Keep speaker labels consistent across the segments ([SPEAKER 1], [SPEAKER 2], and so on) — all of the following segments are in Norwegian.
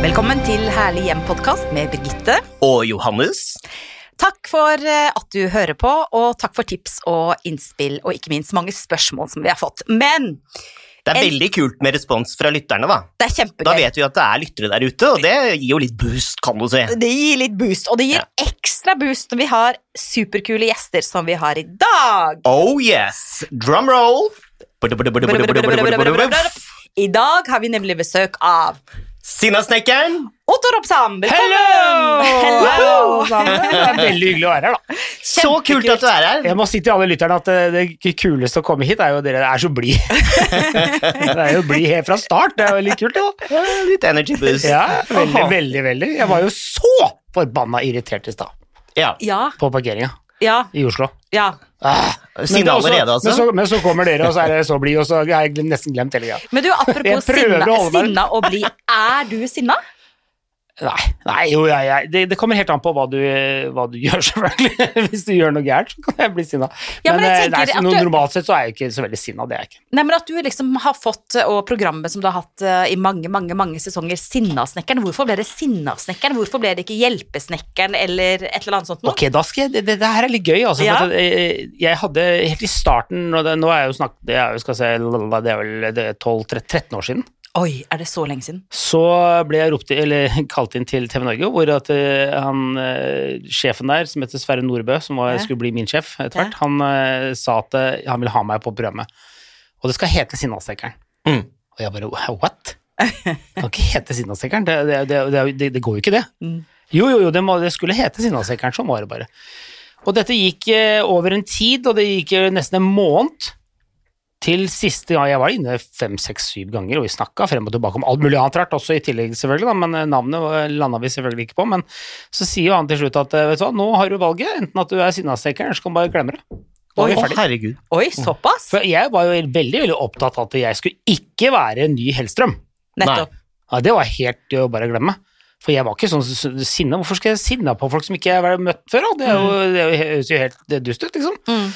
[SPEAKER 1] Velkommen til Herlig hjem-podkast med Birgitte.
[SPEAKER 2] og Johannes.
[SPEAKER 1] Takk for eh, at du hører på, og takk for tips og innspill, og ikke minst mange spørsmål som vi har fått. Men
[SPEAKER 2] Det er
[SPEAKER 1] En-
[SPEAKER 2] veldig kult med respons fra lytterne, da.
[SPEAKER 1] det er
[SPEAKER 2] Da
[SPEAKER 1] kjempegøy.
[SPEAKER 2] vet vi at det er lyttere der ute, og det gir jo litt boost, kan du si.
[SPEAKER 1] Det gir litt boost, og det gir
[SPEAKER 2] Ja.
[SPEAKER 1] ekstra boost når vi har superkule gjester som vi har i dag.
[SPEAKER 2] Oh yes! Drum roll!
[SPEAKER 1] I dag har vi nemlig besøk av
[SPEAKER 2] Sinnasnekkeren!
[SPEAKER 1] Otto Ropsam. Velkommen!
[SPEAKER 3] Hello!
[SPEAKER 1] Hello!
[SPEAKER 3] alle sammen. Det er veldig hyggelig å være her, da.
[SPEAKER 2] Så kult at du er her!
[SPEAKER 3] Jeg må si til alle lytterne at eh, det kuleste å komme hit, er jo dere er så blid. Dere er jo blid helt fra start. Det er jo litt kult, det, da.
[SPEAKER 2] Ja, Litt energy boost.
[SPEAKER 3] Ja, veldig,
[SPEAKER 2] Aha.
[SPEAKER 3] veldig, veldig. Jeg var jo så forbanna irritert i stad
[SPEAKER 2] Ja.
[SPEAKER 1] Ja,
[SPEAKER 3] på parkeringa
[SPEAKER 1] ja,
[SPEAKER 3] i Oslo.
[SPEAKER 1] ja.
[SPEAKER 3] Ah, men
[SPEAKER 2] Sinne
[SPEAKER 3] det er også-
[SPEAKER 2] allerede,
[SPEAKER 3] Men så,
[SPEAKER 2] altså.
[SPEAKER 3] men så kommer dere, og så er dere så blid, og så har jeg glem- nesten glemt hele greia.
[SPEAKER 1] Men du, apropos
[SPEAKER 3] Jeg prøver
[SPEAKER 1] sinna,
[SPEAKER 3] å holde meg-
[SPEAKER 1] sinna og bli. Er du sinna?
[SPEAKER 3] Nei, nei jo, jeg, jeg, det, det kommer helt an på hva du, hva du gjør, selvfølgelig. Hvis du gjør noe gærent, så kan jeg bli sinna.
[SPEAKER 1] Ja, men
[SPEAKER 3] men
[SPEAKER 1] jeg
[SPEAKER 3] eh, nei,
[SPEAKER 1] tenker
[SPEAKER 3] så
[SPEAKER 1] at
[SPEAKER 3] no-
[SPEAKER 1] du-
[SPEAKER 3] normalt sett så er jeg ikke så veldig sinna, det er jeg ikke.
[SPEAKER 1] Nei, men at du liksom har fått, og programmet som du har hatt eh, i mange, mange mange sesonger, Sinnasnekkeren. Hvorfor ble det Sinnasnekkeren? Hvorfor ble det ikke Hjelpesnekkeren eller et eller annet sånt noe?
[SPEAKER 3] Ok, da skal jeg, det, det, det her er litt gøy, altså.
[SPEAKER 1] Ja.
[SPEAKER 3] For at, eh, jeg hadde helt i starten, og det, nå er jeg jo snakket, det er jo, skal jeg si, lalala, det er vel det er 12, 13, 13 år siden,
[SPEAKER 1] Oi, er det så lenge siden?
[SPEAKER 3] så ble jeg ropt, eller kalt inn til TV Norge, hvor at eh, han, eh, sjefen der, som heter Sverre Nordbø, som var,
[SPEAKER 1] Ja.
[SPEAKER 3] skulle bli min sjef etter
[SPEAKER 1] Ja.
[SPEAKER 3] hvert, han eh, sa at eh, han ville ha meg på programmet. Og det skal hete Sinnastekeren.
[SPEAKER 2] Mm.
[SPEAKER 3] Og jeg bare, what? Det kan ikke hete Sinnastekeren, det, det, det, det, det, det går jo ikke det.
[SPEAKER 1] Mm.
[SPEAKER 3] Jo, jo, jo, det, må, det skulle hete Sinnashekkeren, sånn var det bare. Og dette gikk eh, over en tid, og det gikk eh, nesten en måned til siste gang. Jeg var inne fem, seks, syv ganger, og vi snakka frem og tilbake om alt mulig annet rart, også i tillegg, selvfølgelig, da, men eh, navnet landa vi selvfølgelig ikke på. Men så sier jo han til slutt at eh, vet du hå, nå har du valget, enten at du er Sinnashekkeren, eller så kan du bare glemme det. Da
[SPEAKER 2] Å,
[SPEAKER 3] er vi ferdig.
[SPEAKER 2] herregud.
[SPEAKER 1] Oi,
[SPEAKER 3] Mm.
[SPEAKER 1] såpass?
[SPEAKER 3] For jeg var jo veldig, veldig opptatt av at jeg skulle ikke være en ny Hellstrøm.
[SPEAKER 1] Nettopp.
[SPEAKER 3] Ja, det var helt eh, å bare glemme. For jeg var ikke sånn s- s- sinna. Hvorfor skal jeg sinna på folk som ikke jeg har møtt før? Da? Det, er jo, det er jo- høres jo helt det er dust ut, liksom.
[SPEAKER 1] Mm.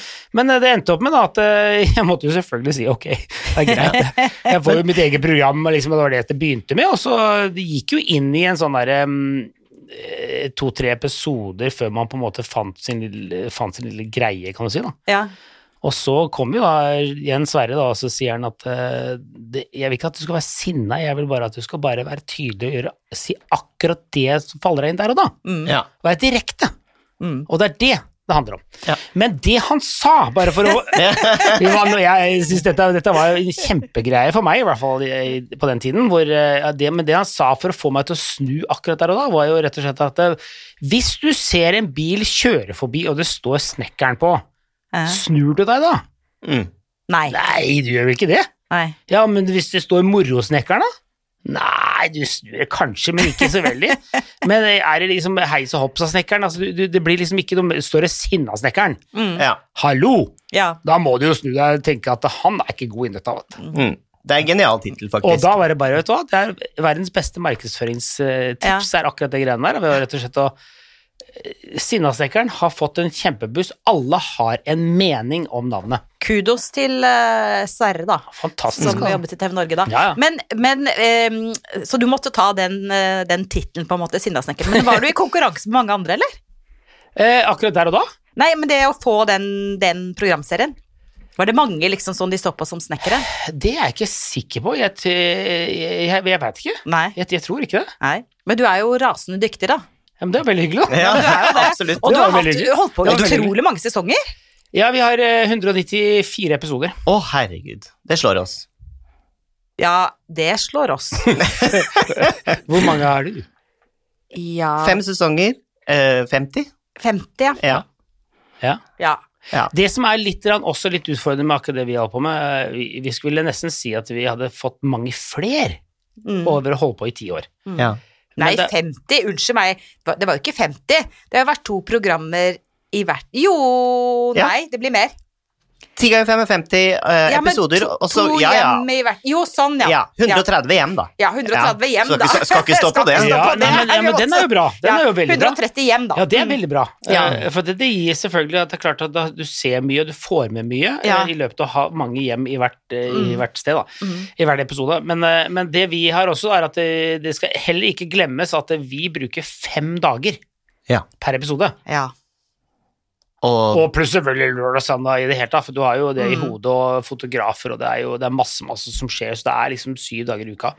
[SPEAKER 3] Men eh, det endte opp med da, at eh, jeg måtte jo selvfølgelig si ok, det er greit. det. Jeg får jo mitt eget program, og liksom, og det var det det begynte med. Og så eh, det gikk jo inn i en sånn derre to-tre episoder før man på en måte fant sin, lille, fant sin lille greie, kan du si. da.
[SPEAKER 1] Ja.
[SPEAKER 3] Og så kommer jo da igjen Sverre, da, og så sier han at eh, det, jeg vil ikke at du skal være sinna, jeg vil bare at du skal bare være tydelig og gjøre, si akkurat det som faller deg inn der og da.
[SPEAKER 1] Mm.
[SPEAKER 2] Ja.
[SPEAKER 3] Være direkte.
[SPEAKER 1] Mm.
[SPEAKER 3] Og det er det det handler om.
[SPEAKER 2] Ja.
[SPEAKER 3] Men det han sa, bare for å Johan, og Jeg synes dette, dette var en kjempegreie for meg, i hvert fall i- i- på den tiden. Hvor, eh, det, men det han sa for å få meg til å snu akkurat der og da, var jo rett og slett at eh, hvis du ser en bil kjøre forbi, og det står 'Snekkeren' på,
[SPEAKER 1] Eh,
[SPEAKER 3] snur du deg da?
[SPEAKER 2] Mm.
[SPEAKER 1] Nei.
[SPEAKER 3] Nei, du gjør vel ikke det?
[SPEAKER 1] Nei.
[SPEAKER 3] Ja, men hvis det står morosnekkeren, da? Nei, du snur kanskje, men ikke så veldig. Men er det liksom heis og hoppsa-snekkeren? Altså, du- du- det blir liksom ikke noe Står det sinna-snekkeren?
[SPEAKER 1] Mm.
[SPEAKER 2] Ja.
[SPEAKER 3] Hallo!
[SPEAKER 1] Ja.
[SPEAKER 3] Da må du jo snu deg og tenke at han er ikke god i dette. Vet. du.
[SPEAKER 2] Mm. Det er en genial tittel,
[SPEAKER 3] Og
[SPEAKER 2] faktisk.
[SPEAKER 3] da var det bare, vet du hva, det er verdens beste markedsføringstips er akkurat det greiene der. Ved å rett og slett å eh, Sinnasnekkeren har fått en kjempebuss. Alle har en mening om navnet.
[SPEAKER 1] Kudos til eh, Sverre, da.
[SPEAKER 3] Fantastisk.
[SPEAKER 1] Som
[SPEAKER 3] altså.
[SPEAKER 1] jobbet i TV Norge da.
[SPEAKER 3] Ja, ja.
[SPEAKER 1] Men, men ehm, Så du måtte ta den, eh, den tittelen, på en måte, Sinnasnekkeren. Men var du i konkurranse med mange andre, eller?
[SPEAKER 3] Eh, akkurat der og da?
[SPEAKER 1] Nei, men det å få den, den programserien. Var det mange liksom sånn de så på som snekkere?
[SPEAKER 3] Det er jeg ikke sikker på. Jeg, t- jeg, jeg, jeg veit ikke.
[SPEAKER 1] Nei.
[SPEAKER 3] Jeg, jeg tror ikke det.
[SPEAKER 1] Nei. Men du er jo rasende dyktig, da.
[SPEAKER 3] Ja, men det er veldig hyggelig, da.
[SPEAKER 2] Ja,
[SPEAKER 1] Og
[SPEAKER 2] absolutt.
[SPEAKER 3] Det
[SPEAKER 1] du har
[SPEAKER 3] var
[SPEAKER 1] hatt,
[SPEAKER 3] veldig hyggelig.
[SPEAKER 1] holdt på
[SPEAKER 3] Det var veldig
[SPEAKER 1] utrolig mange sesonger.
[SPEAKER 3] Ja, vi har eh, 194 episoder.
[SPEAKER 2] Å, herregud. Det slår oss.
[SPEAKER 1] Ja, det slår oss.
[SPEAKER 3] Hvor mange har du?
[SPEAKER 1] Ja
[SPEAKER 2] Fem sesonger. eh, 50?
[SPEAKER 1] 50, ja.
[SPEAKER 2] Ja.
[SPEAKER 3] Ja.
[SPEAKER 1] ja.
[SPEAKER 3] Det som er litt, grann også litt utfordrende med akkurat det vi holdt på med, eh, vi, vi skulle nesten si at vi hadde fått mange fler
[SPEAKER 1] Mm.
[SPEAKER 3] over å holde på i ti år.
[SPEAKER 2] ja.
[SPEAKER 1] Nei,
[SPEAKER 3] Men det-
[SPEAKER 1] 50, unnskyld meg. Det var- Det var jo ikke 50. Det har vært to programmer i hvert Jo,
[SPEAKER 2] Ja.
[SPEAKER 1] nei, det blir mer.
[SPEAKER 2] 10 ganger 5 er 50 eh,
[SPEAKER 1] Ja, men
[SPEAKER 2] episoder.
[SPEAKER 1] to-
[SPEAKER 2] og så-
[SPEAKER 1] to
[SPEAKER 2] ja, ja.
[SPEAKER 1] hjem i hvert Jo, sånn, ja.
[SPEAKER 2] ja. 130 hjem, da.
[SPEAKER 1] Ja, 130 hjem,
[SPEAKER 2] Skal
[SPEAKER 1] da.
[SPEAKER 2] ikke- skal ikke stå på det.
[SPEAKER 1] Skal ikke stå
[SPEAKER 3] Ja,
[SPEAKER 1] på
[SPEAKER 3] nei, men,
[SPEAKER 1] det.
[SPEAKER 3] ja, men den er jo bra. Den
[SPEAKER 1] Ja,
[SPEAKER 3] er jo veldig bra.
[SPEAKER 1] 130 hjem, da. Mm.
[SPEAKER 3] Ja, det er veldig bra.
[SPEAKER 2] Ja.
[SPEAKER 3] Eh, For det, det gir selvfølgelig at det er klart at da, du ser mye, og du får med mye eh,
[SPEAKER 1] Ja.
[SPEAKER 3] i løpet av å ha mange hjem i hvert, eh, i hvert sted, da. I hver episode. Men, eh, men det vi har også, er at det, det skal heller ikke glemmes at vi bruker fem dager
[SPEAKER 2] Ja.
[SPEAKER 3] per episode.
[SPEAKER 1] Ja.
[SPEAKER 2] Og
[SPEAKER 3] Og pluss selvfølgelig lørdag og søndag i det hele tatt, for du har jo det i hodet og fotografer, og det er jo det er masse, masse som skjer, så det er liksom syv dager i uka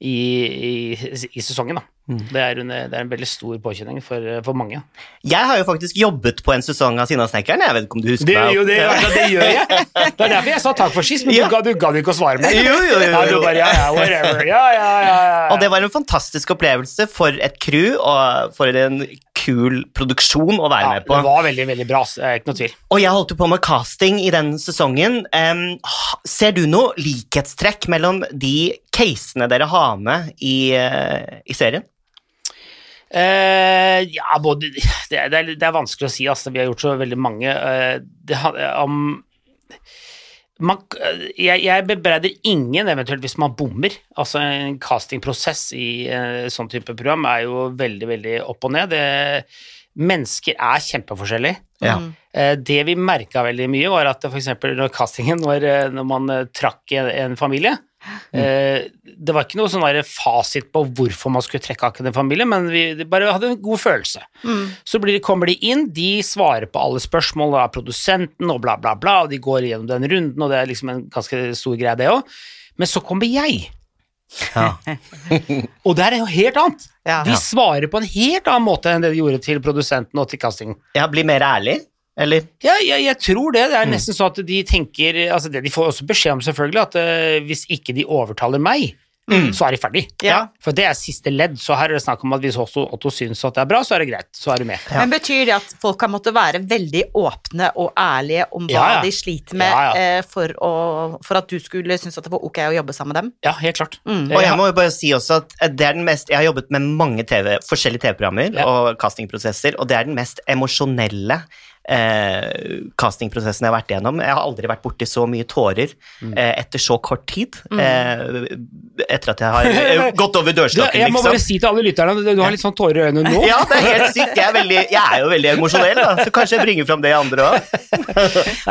[SPEAKER 3] i, i, i sesongen, da. Det, er en, det er en veldig stor påkjenning for, for mange.
[SPEAKER 2] jeg har jo faktisk jobbet på en sesong av Sinnasnekkeren. Jeg vet ikke om du husker
[SPEAKER 3] Det,
[SPEAKER 2] meg?
[SPEAKER 3] jo, det, altså, det gjør jeg. Det er derfor jeg sa takk for sist, men
[SPEAKER 2] Ja.
[SPEAKER 3] du, ga, du gadd ikke å svare meg.
[SPEAKER 2] Jo, jo, jo, jo.
[SPEAKER 3] Ja, du bare, ja, ja, whatever. Ja, ja, ja, ja.
[SPEAKER 2] Og det var en fantastisk opplevelse for et crew, og for en kul produksjon å være
[SPEAKER 3] ja,
[SPEAKER 2] med på.
[SPEAKER 3] det var veldig, veldig bra. så Det er ikke noe tvil.
[SPEAKER 2] Og jeg holdt jo på med casting i den sesongen. Em, ha- ser du noe likhetstrekk mellom de casene dere har med i, eh, i serien?
[SPEAKER 3] Eh, ja, både det, er- det, er, det er vanskelig å si, altså. Vi har gjort så veldig mange. eh, det, har- om, man, eh, jeg, jeg bebreider ingen eventuelt hvis man bommer. Altså En castingprosess i eh, sånn type program er jo veldig, veldig opp og ned. Det, mennesker er kjempeforskjellige.
[SPEAKER 2] Ja.
[SPEAKER 1] Mhm.
[SPEAKER 3] Eh, Det vi merka veldig mye, var at f.eks. når castingen var, eh, når man eh, trakk en, en familie eh, Det var ikke noe sånn der fasit på hvorfor man skulle trekke akkurat en familie, men vi de bare hadde en god følelse.
[SPEAKER 1] Mhm.
[SPEAKER 3] Så blir, kommer de inn, de svarer på alle spørsmål av produsenten og bla, bla, bla, og de går gjennom den runden, og det er liksom en ganske stor greie, det òg. Men så kommer jeg, og der er jo helt annet.
[SPEAKER 1] Ja.
[SPEAKER 3] De svarer på en helt annen måte enn det de gjorde til produsenten og til castingen.
[SPEAKER 2] Ja, bli mer ærlig, eller?
[SPEAKER 3] Ja, jeg, jeg tror det. Det er nesten sånn at de tenker altså Det de får også beskjed om, selvfølgelig, at eh, hvis ikke de overtaler meg, så er de ferdig.
[SPEAKER 1] Ja.
[SPEAKER 3] For det er siste ledd, så her er det snakk om at hvis Otto, Otto syns at det er bra, så er det greit. Så er du med.
[SPEAKER 1] Men betyr det at folk har måttet være veldig åpne og ærlige om hva
[SPEAKER 3] Ja, ja.
[SPEAKER 1] de sliter med,
[SPEAKER 3] Ja, ja.
[SPEAKER 1] eh, For, å, for at du skulle synes at det var ok å jobbe sammen med dem?
[SPEAKER 3] Mm. Ja, helt klart.
[SPEAKER 2] Og jeg må jo bare si også at eh, det er den mest, jeg har jobbet med mange TV, forskjellige TV-programmer
[SPEAKER 3] Ja.
[SPEAKER 2] og castingprosesser, og det er den mest emosjonelle eh, castingprosessen jeg har vært igjennom. Jeg har aldri vært borti så mye tårer
[SPEAKER 3] Mm.
[SPEAKER 2] eh, etter så kort tid. Eh, etter at jeg har eh, gått over
[SPEAKER 3] Du,
[SPEAKER 2] dørslokken,
[SPEAKER 3] jeg må
[SPEAKER 2] liksom.
[SPEAKER 3] bare si til alle lytterne du, du har litt sånn tårer i øynene nå.
[SPEAKER 2] Ja, det er helt sykt. Jeg er, veldig, jeg er jo veldig emosjonell, da, så kanskje jeg bringer fram det i andre òg.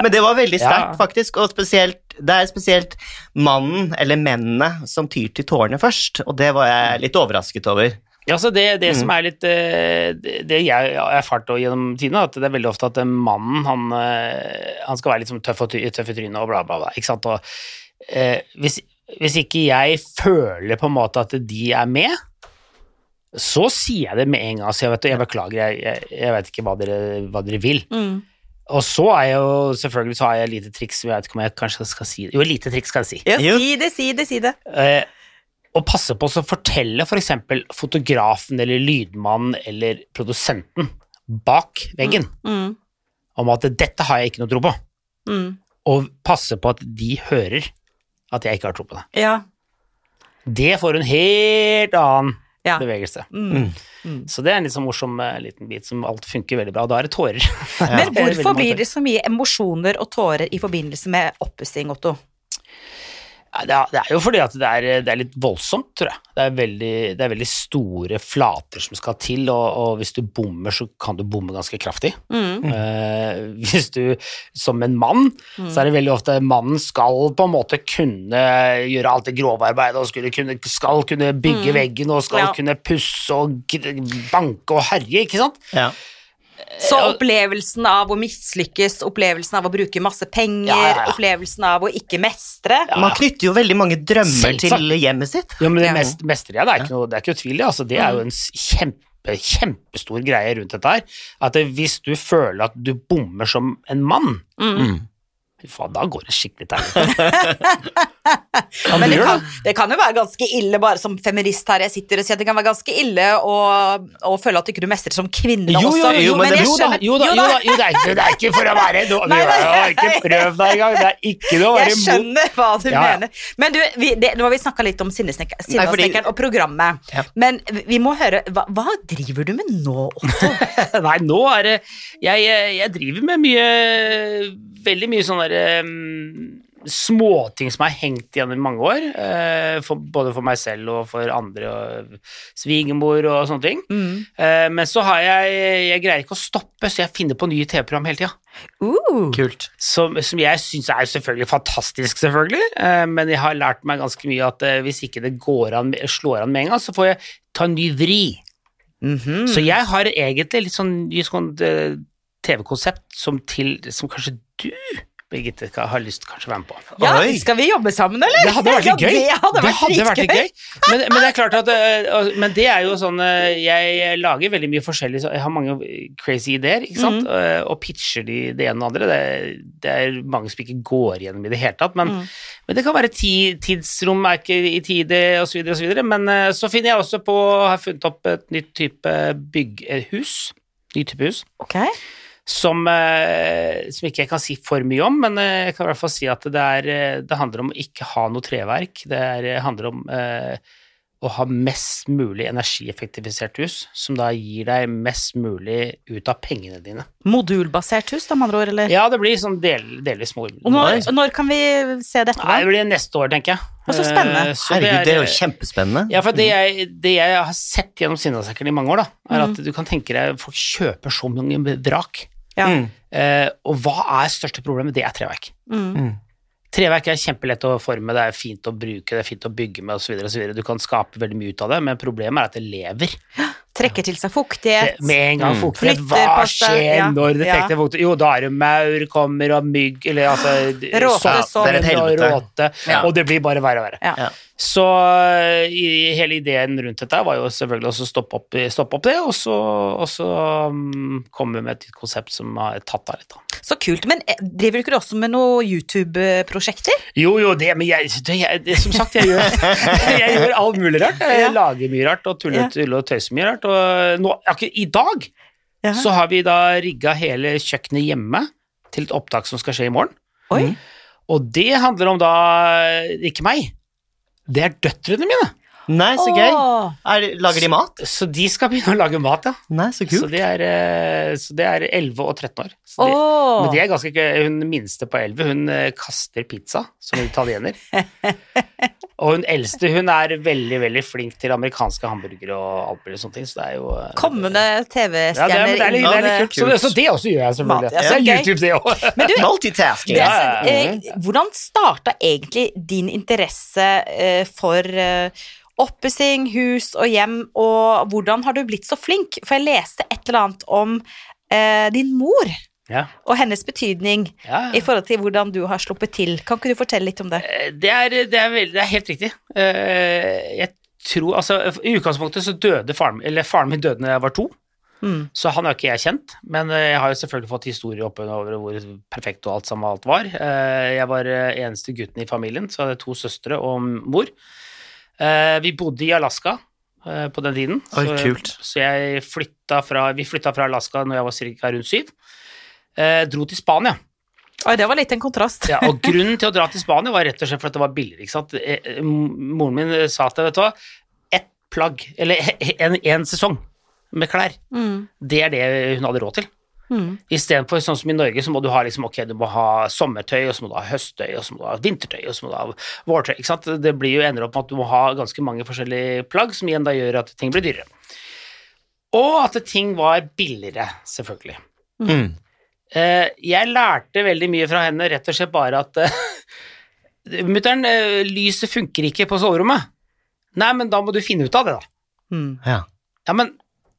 [SPEAKER 2] Men det var veldig sterkt, faktisk. Og spesielt, det er spesielt mannen, eller mennene, som tyr til tårene først. Og det var jeg litt overrasket over.
[SPEAKER 3] Ja, så det, det som er litt eh, Det det jeg har erfart også gjennom tidene, er at det er veldig ofte at eh, mannen, han, eh, han skal være litt sånn tøff, og ty, tøff i trynet og bla, bla, bla. Ikke sant? Og, eh, hvis, hvis ikke jeg føler på en måte at de er med, så sier jeg det med en gang. Så jeg, vet, jeg beklager, jeg, jeg, jeg vet ikke hva dere, hva dere vil. Og så er jeg jo selvfølgelig så har jeg et lite triks, jeg vet ikke om jeg kanskje skal si det. Jo, et lite triks skal jeg si.
[SPEAKER 1] Ja,
[SPEAKER 2] Jo.
[SPEAKER 1] si det, si det, si det.
[SPEAKER 3] Eh, og passe på å fortelle f.eks. fotografen eller lydmannen eller produsenten bak veggen
[SPEAKER 1] Mm,
[SPEAKER 3] om at 'dette har jeg ikke noe tro på',
[SPEAKER 1] mm.
[SPEAKER 3] og passe på at de hører at jeg ikke har tro på det.
[SPEAKER 1] Ja.
[SPEAKER 3] Det får en helt annen
[SPEAKER 1] Ja.
[SPEAKER 3] bevegelse.
[SPEAKER 1] Mm.
[SPEAKER 3] Så det er en litt sånn morsom eh, liten bit som alt funker veldig bra, og da er det tårer.
[SPEAKER 1] Men hvorfor blir det så mye emosjoner og tårer i forbindelse med oppussing, Otto?
[SPEAKER 3] Ja, Det er, det er jo fordi at det er, det er litt voldsomt, tror jeg. Det er, veldig, det er veldig store flater som skal til, og, og hvis du bommer, så kan du bomme ganske kraftig. Eh, hvis du, som en mann, så er det veldig ofte mannen skal på en måte kunne gjøre alt det grove arbeidet, og skulle kunne, skal kunne bygge veggen, og skal
[SPEAKER 1] Ja.
[SPEAKER 3] kunne pusse og gr- banke og herje, ikke sant?
[SPEAKER 2] Ja.
[SPEAKER 1] Så opplevelsen av å mislykkes, opplevelsen av å bruke masse penger,
[SPEAKER 3] Ja, ja, ja.
[SPEAKER 1] opplevelsen av å ikke mestre
[SPEAKER 2] Man knytter jo veldig mange drømmer
[SPEAKER 3] Selvsagt.
[SPEAKER 2] til hjemmet sitt.
[SPEAKER 3] Ja, men det
[SPEAKER 1] Ja.
[SPEAKER 3] mest, mestrer jeg, det er ikke noe, det er ikke noe tvil. i, Altså, det er jo en s- kjempe, kjempestor greie rundt dette her. At det, hvis du føler at du bommer som en mann,
[SPEAKER 1] Mm.
[SPEAKER 3] Mm. fy faen, da går det skikkelig tærlig. ja,
[SPEAKER 1] Men
[SPEAKER 3] men
[SPEAKER 1] det
[SPEAKER 3] gjør
[SPEAKER 1] kan,
[SPEAKER 3] det.
[SPEAKER 1] det kan jo være ganske ille, bare som feminist her jeg sitter og sier at det kan være ganske ille å, å føle at du ikke du mestrer som kvinne
[SPEAKER 3] Jo, jo,
[SPEAKER 1] også.
[SPEAKER 3] jo,
[SPEAKER 2] men
[SPEAKER 1] jeg
[SPEAKER 2] det-
[SPEAKER 3] Jo da,
[SPEAKER 1] skjønner-
[SPEAKER 3] jo da, jo da, jo, det, er ikke, det er ikke for å være no,
[SPEAKER 1] Nei, nei.
[SPEAKER 3] Ikke prøv deg engang, det er ikke noe å være
[SPEAKER 1] Jeg
[SPEAKER 3] imot.
[SPEAKER 1] skjønner hva du
[SPEAKER 3] Ja, ja.
[SPEAKER 1] mener. Men du, vi, det, nå har vi snakka litt om Sinnesnekker-
[SPEAKER 2] Nei, fordi-
[SPEAKER 1] Sinnasnekkeren og programmet.
[SPEAKER 2] Ja.
[SPEAKER 1] Men vi må høre hva, hva driver du med nå, Otto?
[SPEAKER 3] eh, Nei, nå er det jeg, jeg driver med mye veldig mye sånne der, em, småting som har hengt igjen i mange år. eh, for, både for meg selv og for andre, og svigermor og sånne ting. Eh, men så har jeg Jeg greier ikke å stoppe, så jeg finner på nye TV-program hele tida.
[SPEAKER 1] Uh.
[SPEAKER 2] Kult.
[SPEAKER 3] Som, som jeg syns er selvfølgelig fantastisk, selvfølgelig. eh, men jeg har lært meg ganske mye at eh, hvis ikke det går an, slår an med en gang, så får jeg ta en ny vri.
[SPEAKER 1] Mhm.
[SPEAKER 3] Så jeg har egentlig litt sånn litt sånn, eh, TV-konsept som, til- som kanskje du, Birgitte, ka- har lyst til kanskje å være med på.
[SPEAKER 1] Ja,
[SPEAKER 2] Oi.
[SPEAKER 1] skal vi jobbe sammen, eller?
[SPEAKER 3] Det hadde vært
[SPEAKER 1] Ja,
[SPEAKER 3] litt gøy.
[SPEAKER 1] Det hadde vært,
[SPEAKER 3] litt
[SPEAKER 1] dritgøy.
[SPEAKER 3] gøy. Men, men det er klart at eh, al- Men det er jo sånn eh, Jeg lager veldig mye forskjellig, så jeg har mange crazy ideer, ikke sant,
[SPEAKER 1] Mhm.
[SPEAKER 3] Eh, og pitcher de det ene og det andre. Det, det er mange som ikke går gjennom i det hele tatt, men,
[SPEAKER 1] Mhm.
[SPEAKER 3] men det kan være ti, tidsrom er ikke i tide, osv., osv. Men eh, så finner jeg også på Har funnet opp et nytt type bygghus. Ny type hus
[SPEAKER 1] Ok.
[SPEAKER 3] som, eh, som ikke jeg kan si for mye om, men eh, jeg kan i hvert fall si at det, er, eh, det handler om å ikke ha noe treverk. Det er, eh, handler om eh, å ha mest mulig energieffektivisert hus, som da gir deg mest mulig ut av pengene dine.
[SPEAKER 1] Modulbasert hus, da, med andre ord, eller?
[SPEAKER 3] Ja, det blir sånn del, delvis mor.
[SPEAKER 1] Og når, når kan vi se dette? da?
[SPEAKER 3] Nei, det blir neste år, tenker jeg.
[SPEAKER 1] Å, så spennende.
[SPEAKER 3] Eh, så
[SPEAKER 2] Herregud, det er jo
[SPEAKER 3] eh,
[SPEAKER 2] kjempespennende.
[SPEAKER 3] Ja, for det jeg, det jeg har sett gjennom Sinnasekkeren i mange år, da, er at
[SPEAKER 1] Mhm.
[SPEAKER 3] du kan tenke deg folk kjøper så mange vrak.
[SPEAKER 1] Ja.
[SPEAKER 2] Mm.
[SPEAKER 3] Eh, og hva er største problemet? Det er treverk.
[SPEAKER 1] Mm.
[SPEAKER 3] Treverk er kjempelett å forme, det er fint å bruke, det er fint å bygge med osv. Du kan skape veldig mye ut av det, men problemet er at det lever.
[SPEAKER 1] Trekker til seg
[SPEAKER 3] Det,
[SPEAKER 1] fuktighet.
[SPEAKER 3] med en gang
[SPEAKER 2] Mm.
[SPEAKER 3] fuktighet
[SPEAKER 1] Flytter
[SPEAKER 3] Hva
[SPEAKER 1] på seg,
[SPEAKER 3] skjer
[SPEAKER 1] ja.
[SPEAKER 3] når det
[SPEAKER 1] Ja.
[SPEAKER 3] fukter fuktighet? Jo, da er det maur kommer, og mygg Eller altså
[SPEAKER 1] Råte,
[SPEAKER 3] sopp,
[SPEAKER 1] sopp.
[SPEAKER 2] Det er et
[SPEAKER 3] og
[SPEAKER 2] helvete.
[SPEAKER 3] råte.
[SPEAKER 2] Ja.
[SPEAKER 3] Og det blir bare verre og verre.
[SPEAKER 1] Ja.
[SPEAKER 2] Ja.
[SPEAKER 3] Så eh, i, hele ideen rundt dette var jo selvfølgelig også å stoppe opp, stoppe opp det, og så, og så mm, komme med et nytt konsept som har tatt av litt. Da.
[SPEAKER 1] Så kult. Men eh, driver du ikke også med noen YouTube-prosjekter?
[SPEAKER 3] Jo, jo, det, men jeg, det, jeg det, Som sagt, jeg gjør, jeg gjør alt mulig rart. Jeg
[SPEAKER 1] Ja.
[SPEAKER 3] lager mye rart og tuller
[SPEAKER 1] Ja.
[SPEAKER 3] tuller og tøyser mye rart. Og nå, akkurat i dag
[SPEAKER 1] Ja.
[SPEAKER 3] så har vi da rigga hele kjøkkenet hjemme til et opptak som skal skje i morgen.
[SPEAKER 1] Oi.
[SPEAKER 3] Mm. Og det handler om da ikke meg, det er døtrene mine.
[SPEAKER 2] Nei, så gøy.
[SPEAKER 1] Åh.
[SPEAKER 2] Er, det- lager de mat?
[SPEAKER 3] Så de skal begynne å lage mat, ja.
[SPEAKER 2] Nei, så
[SPEAKER 3] Så
[SPEAKER 2] kult.
[SPEAKER 3] det er, eh, så det er 11 og 13 år. Så de,
[SPEAKER 1] Åh.
[SPEAKER 3] Men de er ganske gøy. Hun minste på 11, hun eh, kaster pizza som italiener. og hun eldste, hun er veldig, veldig flink til amerikanske hamburgere og alt mulig sånne ting, så det er jo eh,
[SPEAKER 1] Kommende
[SPEAKER 3] ja, det, er,
[SPEAKER 1] TV-stjerner
[SPEAKER 3] det, er litt, det er litt
[SPEAKER 1] innom, eh,
[SPEAKER 3] kult. Så, det- så det også gjør jeg, selvfølgelig.
[SPEAKER 1] Mat, ja, så
[SPEAKER 3] det er
[SPEAKER 1] gøy.
[SPEAKER 3] YouTube, det òg.
[SPEAKER 1] Men du,
[SPEAKER 2] Multitasking.
[SPEAKER 1] det,
[SPEAKER 3] Ja,
[SPEAKER 1] er
[SPEAKER 3] ja,
[SPEAKER 1] sånn, eh, hvordan starta egentlig din interesse eh, for eh, oppussing, hus og hjem, og hvordan har du blitt så flink? For jeg leste et eller annet om eh, din mor
[SPEAKER 3] Ja.
[SPEAKER 1] og hennes betydning
[SPEAKER 3] Ja,
[SPEAKER 1] i forhold til hvordan du har sluppet til. Kan ikke du fortelle litt om det?
[SPEAKER 3] Eh, Det er, det er, veldig, det er helt riktig. Eh, Jeg tror, altså, I utgangspunktet så døde faren min, eller faren min døde når jeg var to,
[SPEAKER 1] Mm.
[SPEAKER 3] så han har ikke jeg kjent. Men eh, jeg har jo selvfølgelig fått historier oppover hvor perfekt og alt sammen alt var. Eh, Jeg var eh, eneste gutten i familien, så jeg hadde to søstre og mor. Eh, Vi bodde i Alaska eh, på den tiden.
[SPEAKER 2] Oi,
[SPEAKER 3] så,
[SPEAKER 2] kult.
[SPEAKER 3] Så jeg flytta fra, vi flytta fra Alaska når jeg var cirka rundt syv. Eh, Dro til Spania.
[SPEAKER 1] Oi, det var litt en kontrast.
[SPEAKER 3] Ja, og grunnen til å dra til Spania var rett og slett for at det var billigere, ikke sant. Eh, eh, Moren min eh, sa til meg, vet du hva, ett plagg, eller en, en sesong med klær,
[SPEAKER 1] Mm.
[SPEAKER 3] det er det hun hadde råd til.
[SPEAKER 1] Mm.
[SPEAKER 3] Istedenfor sånn som i Norge, så må du ha liksom, ok, du må ha sommertøy, og så må du ha høsttøy, og så må du ha vintertøy, og så må du ha vårtøy. ikke sant? Det blir jo ender opp med at du må ha ganske mange forskjellige plagg, som igjen da gjør at ting blir dyrere. Og at ting var billigere, selvfølgelig.
[SPEAKER 2] Mm.
[SPEAKER 3] Eh, jeg lærte veldig mye fra henne, rett og slett bare at uh, Mutter'n, eh, lyset funker ikke på soverommet. Nei, men da må du finne ut av det, da.
[SPEAKER 1] Mm.
[SPEAKER 2] Ja.
[SPEAKER 3] Ja, men,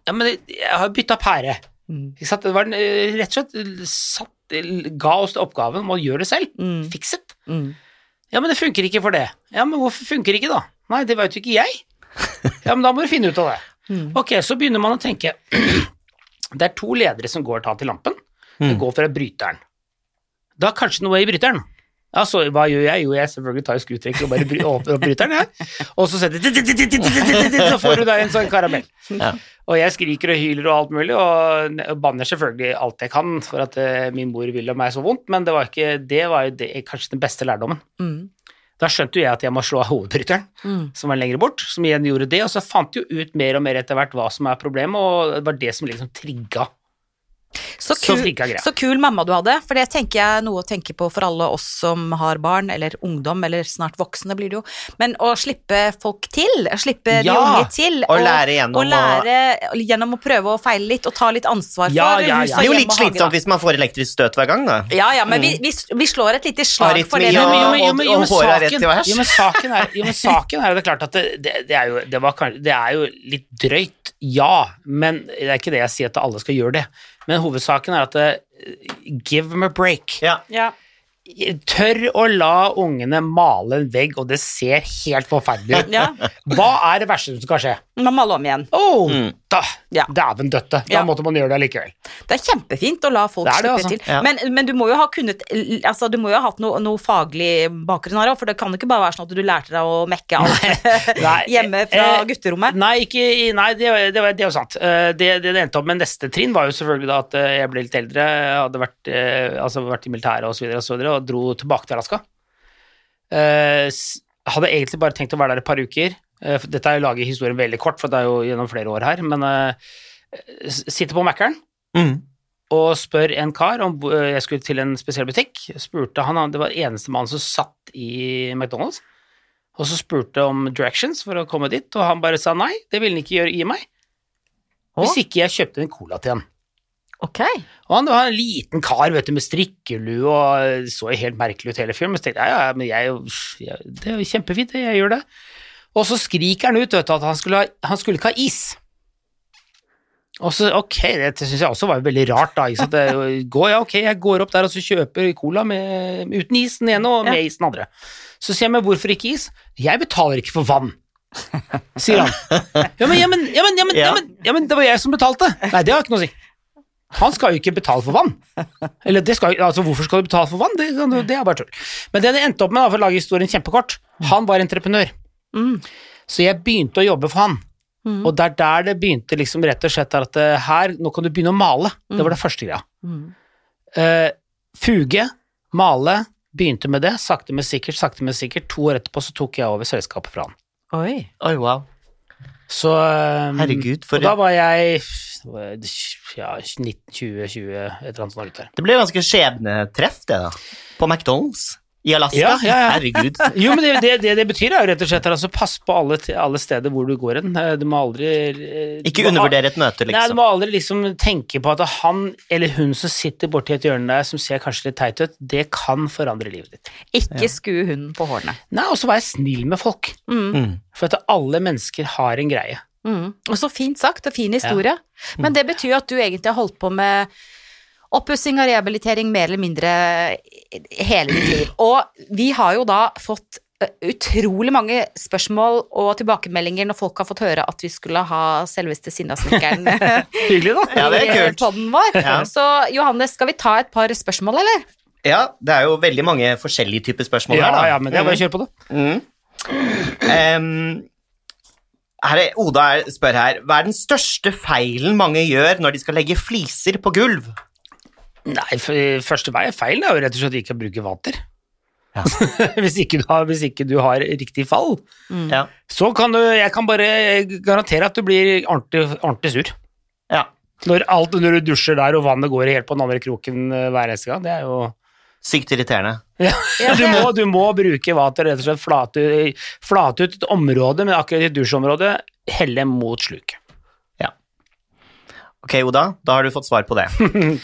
[SPEAKER 3] ja, men jeg har bytta pære.
[SPEAKER 1] Mm.
[SPEAKER 3] Ikke sant? Det var en, eh, rett og slett satt, eh, ga oss oppgaven om å gjøre det selv.
[SPEAKER 1] Mm.
[SPEAKER 3] Fiks det.
[SPEAKER 1] Mm.
[SPEAKER 3] Ja, men det funker ikke for det. Ja, men hvorfor funker ikke da? Nei, det vet jo ikke jeg. Ja, men da må du finne ut av det.
[SPEAKER 1] Mm.
[SPEAKER 3] Ok, så begynner man å tenke. Det er to ledere som går tatt i lampen. Det
[SPEAKER 2] Mm.
[SPEAKER 3] går fra bryteren. Da er kanskje noe i bryteren. Ja, så hva gjør jeg? Jo, jeg selvfølgelig tar en skrutrekker og bare bry- åpner opp bryteren, jeg. Og så setter Så får du deg en sånn karamell.
[SPEAKER 2] Ja.
[SPEAKER 3] Og jeg skriker og hyler og alt mulig, og n- og banner selvfølgelig alt jeg kan for at eh, min mor vil meg så vondt, men det var, ikke, det var jo det, kanskje den beste lærdommen.
[SPEAKER 1] Mm.
[SPEAKER 3] Da skjønte jo jeg at jeg må slå av hovedbryteren,
[SPEAKER 1] Mm.
[SPEAKER 3] som var lenger bort, som igjen gjorde det, og så fant jeg jo ut mer og mer etter hvert hva som er problemet, og det var det som liksom trigga
[SPEAKER 1] Så
[SPEAKER 3] Så
[SPEAKER 1] kul,
[SPEAKER 3] flink er greia.
[SPEAKER 1] så kul mamma du hadde, for det tenker jeg er noe å tenke på for alle oss som har barn, eller ungdom, eller snart voksne blir det jo. Men å slippe folk til, å slippe de
[SPEAKER 3] Ja,
[SPEAKER 1] unge til.
[SPEAKER 2] og lære gjennom
[SPEAKER 1] og
[SPEAKER 2] å-
[SPEAKER 1] lære gjennom å prøve å feile litt, og ta litt ansvar
[SPEAKER 3] Ja,
[SPEAKER 1] for
[SPEAKER 3] ja,
[SPEAKER 1] hus
[SPEAKER 3] ja.
[SPEAKER 1] og
[SPEAKER 2] Det er jo
[SPEAKER 1] hjem
[SPEAKER 2] litt
[SPEAKER 1] og hage, da.
[SPEAKER 2] slitsomt hvis man får elektrisk støt hver gang, da.
[SPEAKER 1] Ja, ja, men vi, vi, vi slår et lite slag for det. men-
[SPEAKER 2] Arytmi, ja.
[SPEAKER 3] men, jo, men, jo, men, jo,
[SPEAKER 2] og-
[SPEAKER 3] men,
[SPEAKER 2] og håret er rett
[SPEAKER 3] saken,
[SPEAKER 2] i vers.
[SPEAKER 3] jo, men saken er jo, men saken er jo det er klart at det, det, det, er jo, det, var, kanskje- det er jo litt drøyt, ja, men det er ikke det jeg sier at alle skal gjøre det. Men hovedsaken er at det, give them a break.
[SPEAKER 2] Ja.
[SPEAKER 1] Ja.
[SPEAKER 3] Tør å la ungene male en vegg, og det ser helt forferdelig ut.
[SPEAKER 1] Ja.
[SPEAKER 3] Hva er det verste som kan skje?
[SPEAKER 1] Man må alle om igjen.
[SPEAKER 3] Oh, da,
[SPEAKER 1] Ja.
[SPEAKER 3] Dæven døtte. Da
[SPEAKER 1] Ja.
[SPEAKER 3] måtte man gjøre det allikevel.
[SPEAKER 1] Det er kjempefint å la folk
[SPEAKER 3] Det er det,
[SPEAKER 1] slippe
[SPEAKER 3] altså.
[SPEAKER 1] til.
[SPEAKER 2] Ja.
[SPEAKER 1] Men, men du må jo ha kunnet altså, Du må jo ha hatt noe, noe faglig bakgrunn her òg, for det kan jo ikke bare være sånn at du lærte deg å mekke alt
[SPEAKER 3] Nei,
[SPEAKER 1] hjemme fra
[SPEAKER 3] eh,
[SPEAKER 1] gutterommet.
[SPEAKER 3] Nei, ikke, i- nei det, var- det, var- det er jo sant. Eh, Det, det det endte opp med neste trinn var jo selvfølgelig da at eh, jeg ble litt eldre, jeg hadde vært, eh, altså vært i militæret og så videre og så videre, og dro tilbake til Alaska. Eh, s- Hadde egentlig bare tenkt å være der et par uker. Eh, for Dette er jo laget historien veldig kort, for det er jo gjennom flere år her, men eh, s- sitter på Mækkern
[SPEAKER 2] Mm.
[SPEAKER 3] og spør en kar om bo- eh, jeg skulle til en spesiell butikk. Spurte han, han- Det var eneste mannen som satt i McDonald's. Og så spurte om directions for å komme dit, og han bare sa nei, det ville han ikke gjøre, gi meg. Hvis ikke jeg kjøpte en cola til han.
[SPEAKER 1] Ok.
[SPEAKER 3] Og han var en liten kar vet du, med strikkelue og så jo helt merkelig ut hele fyren. Men så tenkte jeg ja, ja, men jeg, er jo- jeg, det er jo kjempefint, det, jeg gjør det. Og så skriker han ut vet du, at han skulle, ha, han skulle ikke ha is. Og så, ok, Det syns jeg også var veldig rart. da, ikke sant? Det er jo- Gå, ja, ok, Jeg går opp der og så kjøper cola med, uten is den ene og med
[SPEAKER 1] Ja.
[SPEAKER 3] is den andre. Så sier jeg men hvorfor ikke is? Jeg betaler ikke for vann, sier han. Ja, men, ja, men, ja, men, ja, men, ja.
[SPEAKER 2] Ja.
[SPEAKER 3] men, ja, men det var jeg som betalte. Nei, det har ikke noe å si. Han skal jo ikke betale for vann. Eller det skal, jo- altså Hvorfor skal du betale for vann? Det, kan du- det er bare tull. Men det det endte opp med, da, for å lage historien kjempekort, han var entreprenør.
[SPEAKER 1] Mm.
[SPEAKER 3] Så jeg begynte å jobbe for han. Og det er der det begynte liksom rett og slett at eh, her, nå kan du begynne å male. Det var det første greia.
[SPEAKER 1] Mm.
[SPEAKER 3] Eh, fuge, male, begynte med det. Sakte, men sikkert, sakte, men sikkert. To år etterpå så tok jeg over selskapet fra han.
[SPEAKER 1] Oi.
[SPEAKER 2] Oi, wow.
[SPEAKER 3] Så eh,
[SPEAKER 2] Herregud, for
[SPEAKER 3] Og da var jeg ja, 19-20-20, et eller annet sånt rundt der.
[SPEAKER 2] Det ble ganske skjebnetreff, det, da. På McDonald's i Alaska.
[SPEAKER 3] Ja, ja, ja.
[SPEAKER 2] Herregud.
[SPEAKER 3] Jo, men det det, det, det betyr er jo rett og slett altså, pass på alle, t- alle steder hvor du går hen. Eh, Du må aldri eh, du
[SPEAKER 2] Ikke
[SPEAKER 3] må-
[SPEAKER 2] undervurdere et møte,
[SPEAKER 3] Nei, du
[SPEAKER 2] liksom.
[SPEAKER 3] må aldri liksom tenke på at han eller hun som sitter borti et hjørne der, som ser kanskje litt teit ut, det kan forandre livet ditt.
[SPEAKER 1] Ikke skue hunden på hårene.
[SPEAKER 3] Nei, og så være snill med folk.
[SPEAKER 1] Mm.
[SPEAKER 2] Mm.
[SPEAKER 3] For at alle mennesker har en greie.
[SPEAKER 1] Mm. Og så fint sagt, og fin historie. Men det betyr jo at du egentlig har holdt på med oppussing og rehabilitering mer eller mindre hele ditt liv. Og vi har jo da fått eh, utrolig mange spørsmål og tilbakemeldinger når folk har fått høre at vi skulle ha selveste Sinnasnekkeren
[SPEAKER 3] Hyggelig, da.
[SPEAKER 2] Ja, det er
[SPEAKER 1] i
[SPEAKER 2] kult.
[SPEAKER 1] podden vår.
[SPEAKER 2] Ja.
[SPEAKER 1] Så Johannes, skal vi ta et par spørsmål, eller?
[SPEAKER 2] Ja, det er jo veldig mange forskjellige typer spørsmål
[SPEAKER 3] Ja,
[SPEAKER 2] her, da.
[SPEAKER 3] ja, men det er bare å kjøre på, da.
[SPEAKER 2] Mm. Em, her er, Oda er- spør her Hva er den største feilen mange gjør når de skal legge fliser på gulv?
[SPEAKER 3] Nei, for, første vei er feil, det er jo rett og slett ikke å bruke vater.
[SPEAKER 2] Ja.
[SPEAKER 3] hvis, ikke du har, hvis ikke du har riktig fall,
[SPEAKER 2] Ja.
[SPEAKER 3] så kan du Jeg kan bare garantere at du blir ordentlig, ordentlig sur.
[SPEAKER 2] ja.
[SPEAKER 3] Når, alt, når du dusjer der, og vannet går helt på den andre kroken eh, hver eneste gang, det er jo
[SPEAKER 2] Sykt irriterende.
[SPEAKER 1] Ja,
[SPEAKER 3] Du må, du må bruke vater, rett og slett flate, flate ut et område, men akkurat i dusjområdet, helle mot sluket.
[SPEAKER 2] Ok, Oda, da har du fått svar på det.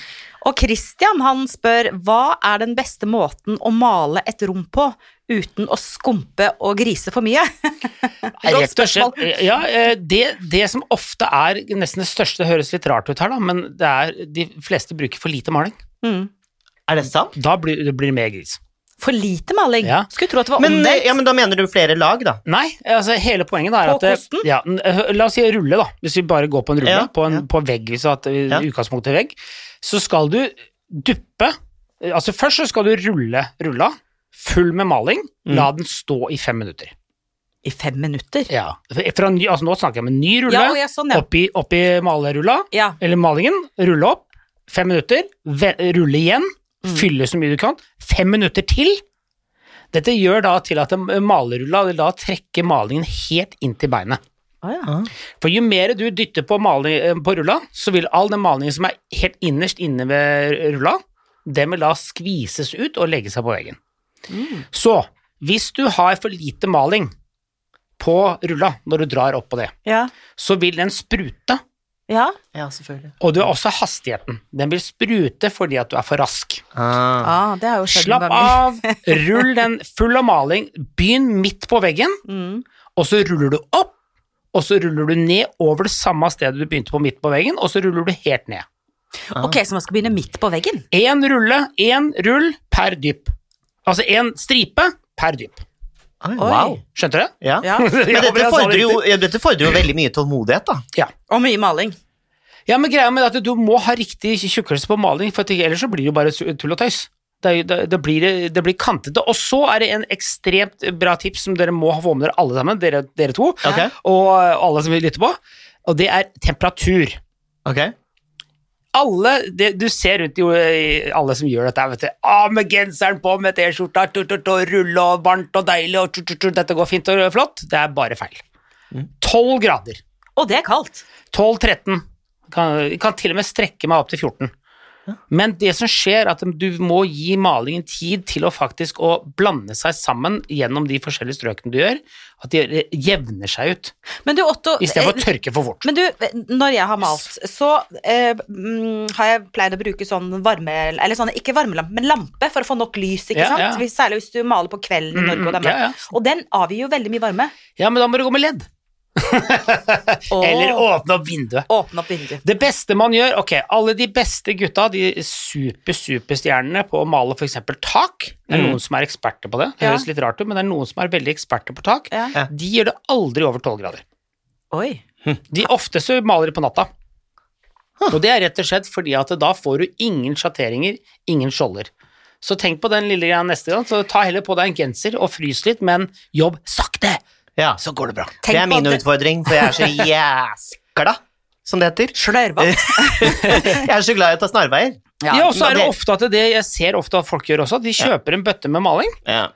[SPEAKER 1] Og Christian han spør hva er den beste måten å male et rom på uten å skumpe og grise for mye? Godt
[SPEAKER 3] Rett og slett.
[SPEAKER 1] spørsmål.
[SPEAKER 3] Ja, eh, det, det som ofte er nesten det største, det høres litt rart ut her, da, men det er de fleste bruker for lite maling.
[SPEAKER 1] Mm.
[SPEAKER 2] Er det sant?
[SPEAKER 3] Da blir det blir mer gris.
[SPEAKER 1] For lite maling?
[SPEAKER 3] Ja.
[SPEAKER 1] Skulle tro at det var
[SPEAKER 2] Men, eh,
[SPEAKER 1] omvendt.
[SPEAKER 2] ja, men da mener du flere lag, da?
[SPEAKER 3] Nei, altså hele poenget da er
[SPEAKER 1] På
[SPEAKER 3] at eh,
[SPEAKER 1] kosten?
[SPEAKER 3] ja, n- eh, La oss si rulle, da. Hvis vi bare går på en rulle,
[SPEAKER 2] Ja,
[SPEAKER 3] på, en,
[SPEAKER 2] ja.
[SPEAKER 3] på vegg, hvis vi har hatt eh,
[SPEAKER 2] Ja.
[SPEAKER 3] utgangspunkt til vegg, så skal du duppe eh, Altså først så skal du rulle rulla, full med maling,
[SPEAKER 1] Mm.
[SPEAKER 3] la den stå i fem minutter.
[SPEAKER 1] I fem minutter?
[SPEAKER 3] Ja. Fra, ny- altså nå snakker jeg om en ny rulle,
[SPEAKER 1] Ja, og jeg, sånn, ja.
[SPEAKER 3] oppi, oppi malerulla,
[SPEAKER 1] ja.
[SPEAKER 3] eller malingen, rulle opp, fem minutter, ve rulle igjen, fylle så mye du kan, fem minutter til. Dette gjør da til at en- malerulla vil da trekke malingen helt inn til beinet.
[SPEAKER 1] Å ja.
[SPEAKER 3] For jo mer du dytter på, maling, eh, på rulla, så vil all den malingen som er helt innerst inne ved rulla, den vil da skvises ut og legge seg på veggen. Så hvis du har for lite maling på rulla når du drar opp på det,
[SPEAKER 1] Ja.
[SPEAKER 3] så vil den sprute,
[SPEAKER 1] ja.
[SPEAKER 2] Ja, selvfølgelig.
[SPEAKER 3] og du har også hastigheten. Den vil sprute fordi at du er for rask.
[SPEAKER 2] Ah.
[SPEAKER 1] Ah, det har jo skjedd
[SPEAKER 3] Slapp av, rull den full av maling, begynn midt på veggen,
[SPEAKER 1] Mm.
[SPEAKER 3] og så ruller du opp, og så ruller du ned over det samme stedet du begynte på midt på veggen, og så ruller du helt ned.
[SPEAKER 1] Ok, så man skal begynne midt på veggen?
[SPEAKER 3] Én rulle, én rull per dypp. Altså én stripe per dypp. Ah,
[SPEAKER 2] Oi,
[SPEAKER 1] Oi.
[SPEAKER 2] wow.
[SPEAKER 3] Skjønner du?
[SPEAKER 2] Ja.
[SPEAKER 1] Ja.
[SPEAKER 2] Men dette fordrer, jo, ja, dette fordrer jo veldig mye tålmodighet, da.
[SPEAKER 3] ja.
[SPEAKER 1] Og mye maling.
[SPEAKER 3] ja, men greia med det er at du må ha riktig tjukkelse på maling, for at ikke- ellers så blir det jo bare su- tull og tøys. Det, er jo- det, det, blir, det blir kantete. Og så er det en ekstremt bra tips som dere må få med dere alle sammen, dere, dere to,
[SPEAKER 2] Ok,
[SPEAKER 3] og alle som vil lytte på, og det er temperatur.
[SPEAKER 2] ok.
[SPEAKER 3] alle det, Du ser rundt jo, eh, alle som gjør dette, vet du. Ah, med genseren på, med T-skjorta, tut, tut, og rulle og varmt og deilig og tut, tut, tut, Dette går fint og flott. Det er bare feil. 12 grader.
[SPEAKER 1] Og det er kaldt.
[SPEAKER 3] 12-13. Kan, kan til og med strekke meg opp til 14. Men det som skjer, er at du må gi malingen tid til å faktisk å blande seg sammen gjennom de forskjellige strøkene du gjør. At de jevner seg ut,
[SPEAKER 1] Men du, Otto
[SPEAKER 3] i stedet for
[SPEAKER 1] eh,
[SPEAKER 3] å tørke for fort.
[SPEAKER 1] Men du, når jeg har malt, så eh, mm, har jeg pleid å bruke sånn varme... Eller sånn, ikke varmelampe, men lampe for å få nok lys, ikke
[SPEAKER 3] Ja,
[SPEAKER 1] sant?
[SPEAKER 3] ja. Mm,
[SPEAKER 1] Hvis- Særlig hvis du maler på kvelden i Norge og det er
[SPEAKER 3] ja, ja.
[SPEAKER 1] mørkt. Og den avgir jo veldig mye varme.
[SPEAKER 3] Ja, men da må du gå med ledd.
[SPEAKER 1] Og
[SPEAKER 3] Eller åpne opp vinduet.
[SPEAKER 1] åpne opp vinduet.
[SPEAKER 3] Det beste man gjør Ok, alle de beste gutta, de super-superstjernene på å male f.eks. tak Det er
[SPEAKER 2] Mm.
[SPEAKER 3] noen som er eksperter på det. Det
[SPEAKER 1] Ja.
[SPEAKER 3] høres litt rart ut, men det er noen som er veldig eksperter på tak.
[SPEAKER 1] Ja.
[SPEAKER 2] Ja.
[SPEAKER 3] De gjør det aldri over 12 grader.
[SPEAKER 1] Oi.
[SPEAKER 3] De ofteste maler det på natta. Og det er rett og slett fordi at da får du ingen sjatteringer, ingen skjolder. Så tenk på den lille greia neste gang, så ta heller på deg en genser og frys litt, men jobb sakte,
[SPEAKER 2] Ja.
[SPEAKER 3] så går det bra.
[SPEAKER 2] Det er
[SPEAKER 1] på
[SPEAKER 2] min
[SPEAKER 1] at
[SPEAKER 2] utfordring, for jeg er så jæskla, som det heter.
[SPEAKER 1] Slørvete.
[SPEAKER 2] Jeg er så glad i å ta snarveier.
[SPEAKER 3] Ja, og så er det
[SPEAKER 2] det-
[SPEAKER 3] ofte at det jeg ser ofte at folk gjør også, at de kjøper en bøtte med maling.
[SPEAKER 2] Ja.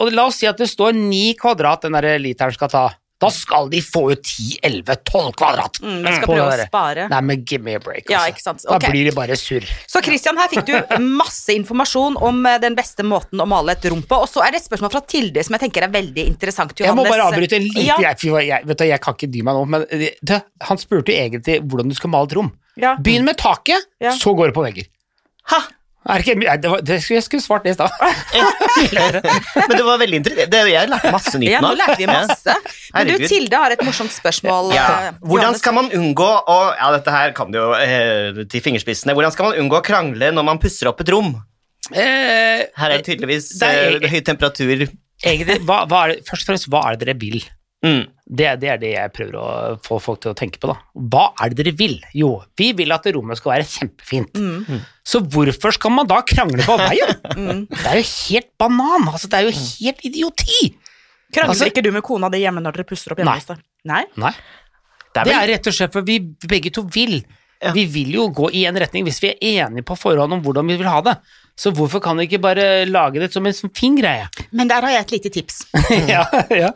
[SPEAKER 3] Og la oss si at det står 9 kvadrat den der literen skal ta. Da skal de få ut 10-11-12 kvadrat.
[SPEAKER 1] Mm, man skal
[SPEAKER 3] På
[SPEAKER 1] prøve
[SPEAKER 3] det
[SPEAKER 1] å
[SPEAKER 3] der.
[SPEAKER 1] spare.
[SPEAKER 3] Nei, men give me a break.
[SPEAKER 1] Ja,
[SPEAKER 3] altså.
[SPEAKER 1] ikke sant.
[SPEAKER 3] Da
[SPEAKER 1] Ok.
[SPEAKER 3] blir det bare surr.
[SPEAKER 1] Så Christian, her fikk du masse informasjon om eh, den beste måten å male et rom på. Og så er det et spørsmål fra Tilde som jeg tenker er veldig interessant.
[SPEAKER 3] Jeg må
[SPEAKER 1] Johannes.
[SPEAKER 3] bare avbryte en liten
[SPEAKER 1] Ja,
[SPEAKER 3] jeg, fy, jeg, vet du, jeg kan ikke dy meg nå, men eh, du, han spurte jo egentlig hvordan du skal male et rom.
[SPEAKER 1] ja.
[SPEAKER 3] Begynn med taket,
[SPEAKER 1] Ja.
[SPEAKER 3] så går det på vegger.
[SPEAKER 2] Ha!
[SPEAKER 3] Er det ikke, nei, det var, det, skulle- jeg skulle svart det i stad.
[SPEAKER 2] Men det var veldig interessant. Det- Jeg lærte masse nytt
[SPEAKER 1] Ja, nå
[SPEAKER 2] nå.
[SPEAKER 1] lærte vi masse. Men du,
[SPEAKER 2] Herregud.
[SPEAKER 1] Tilde har et morsomt spørsmål. eh,
[SPEAKER 2] Ja. Hvordan
[SPEAKER 1] Johannes.
[SPEAKER 2] skal man unngå å Ja, dette her kan du jo eh, til fingerspissene. Hvordan skal man unngå å krangle når man pusser opp et rom?
[SPEAKER 3] Eh,
[SPEAKER 2] Her er det tydeligvis
[SPEAKER 3] Det er- e-
[SPEAKER 2] eh, høy temperatur.
[SPEAKER 3] egentlig, hva, hva er det, først og fremst, hva er det dere vil?
[SPEAKER 2] Mm.
[SPEAKER 3] Det, er- det er det jeg prøver å få folk til å tenke på. da. Hva er det dere vil? Jo, vi vil at rommet skal være kjempefint.
[SPEAKER 1] Mm.
[SPEAKER 3] Så hvorfor skal man da krangle på veien?
[SPEAKER 1] Mm.
[SPEAKER 3] Det er jo helt banan! altså Det er jo helt idioti!
[SPEAKER 1] Krangler
[SPEAKER 3] Altså-
[SPEAKER 1] ikke du med kona di hjemme når dere pusser opp hjemme
[SPEAKER 3] Nei.
[SPEAKER 1] hos deg? Nei.
[SPEAKER 3] Nei,
[SPEAKER 2] Det er
[SPEAKER 3] Det
[SPEAKER 2] vel
[SPEAKER 3] er rett og slett for vi begge to vil.
[SPEAKER 2] Ja.
[SPEAKER 3] Vi vil jo gå i en retning hvis vi er enige på forhånd om hvordan vi vil ha det. Så hvorfor kan vi ikke bare lage det som en sånn fin greie?
[SPEAKER 1] Men der har jeg et lite tips.
[SPEAKER 3] ja, ja.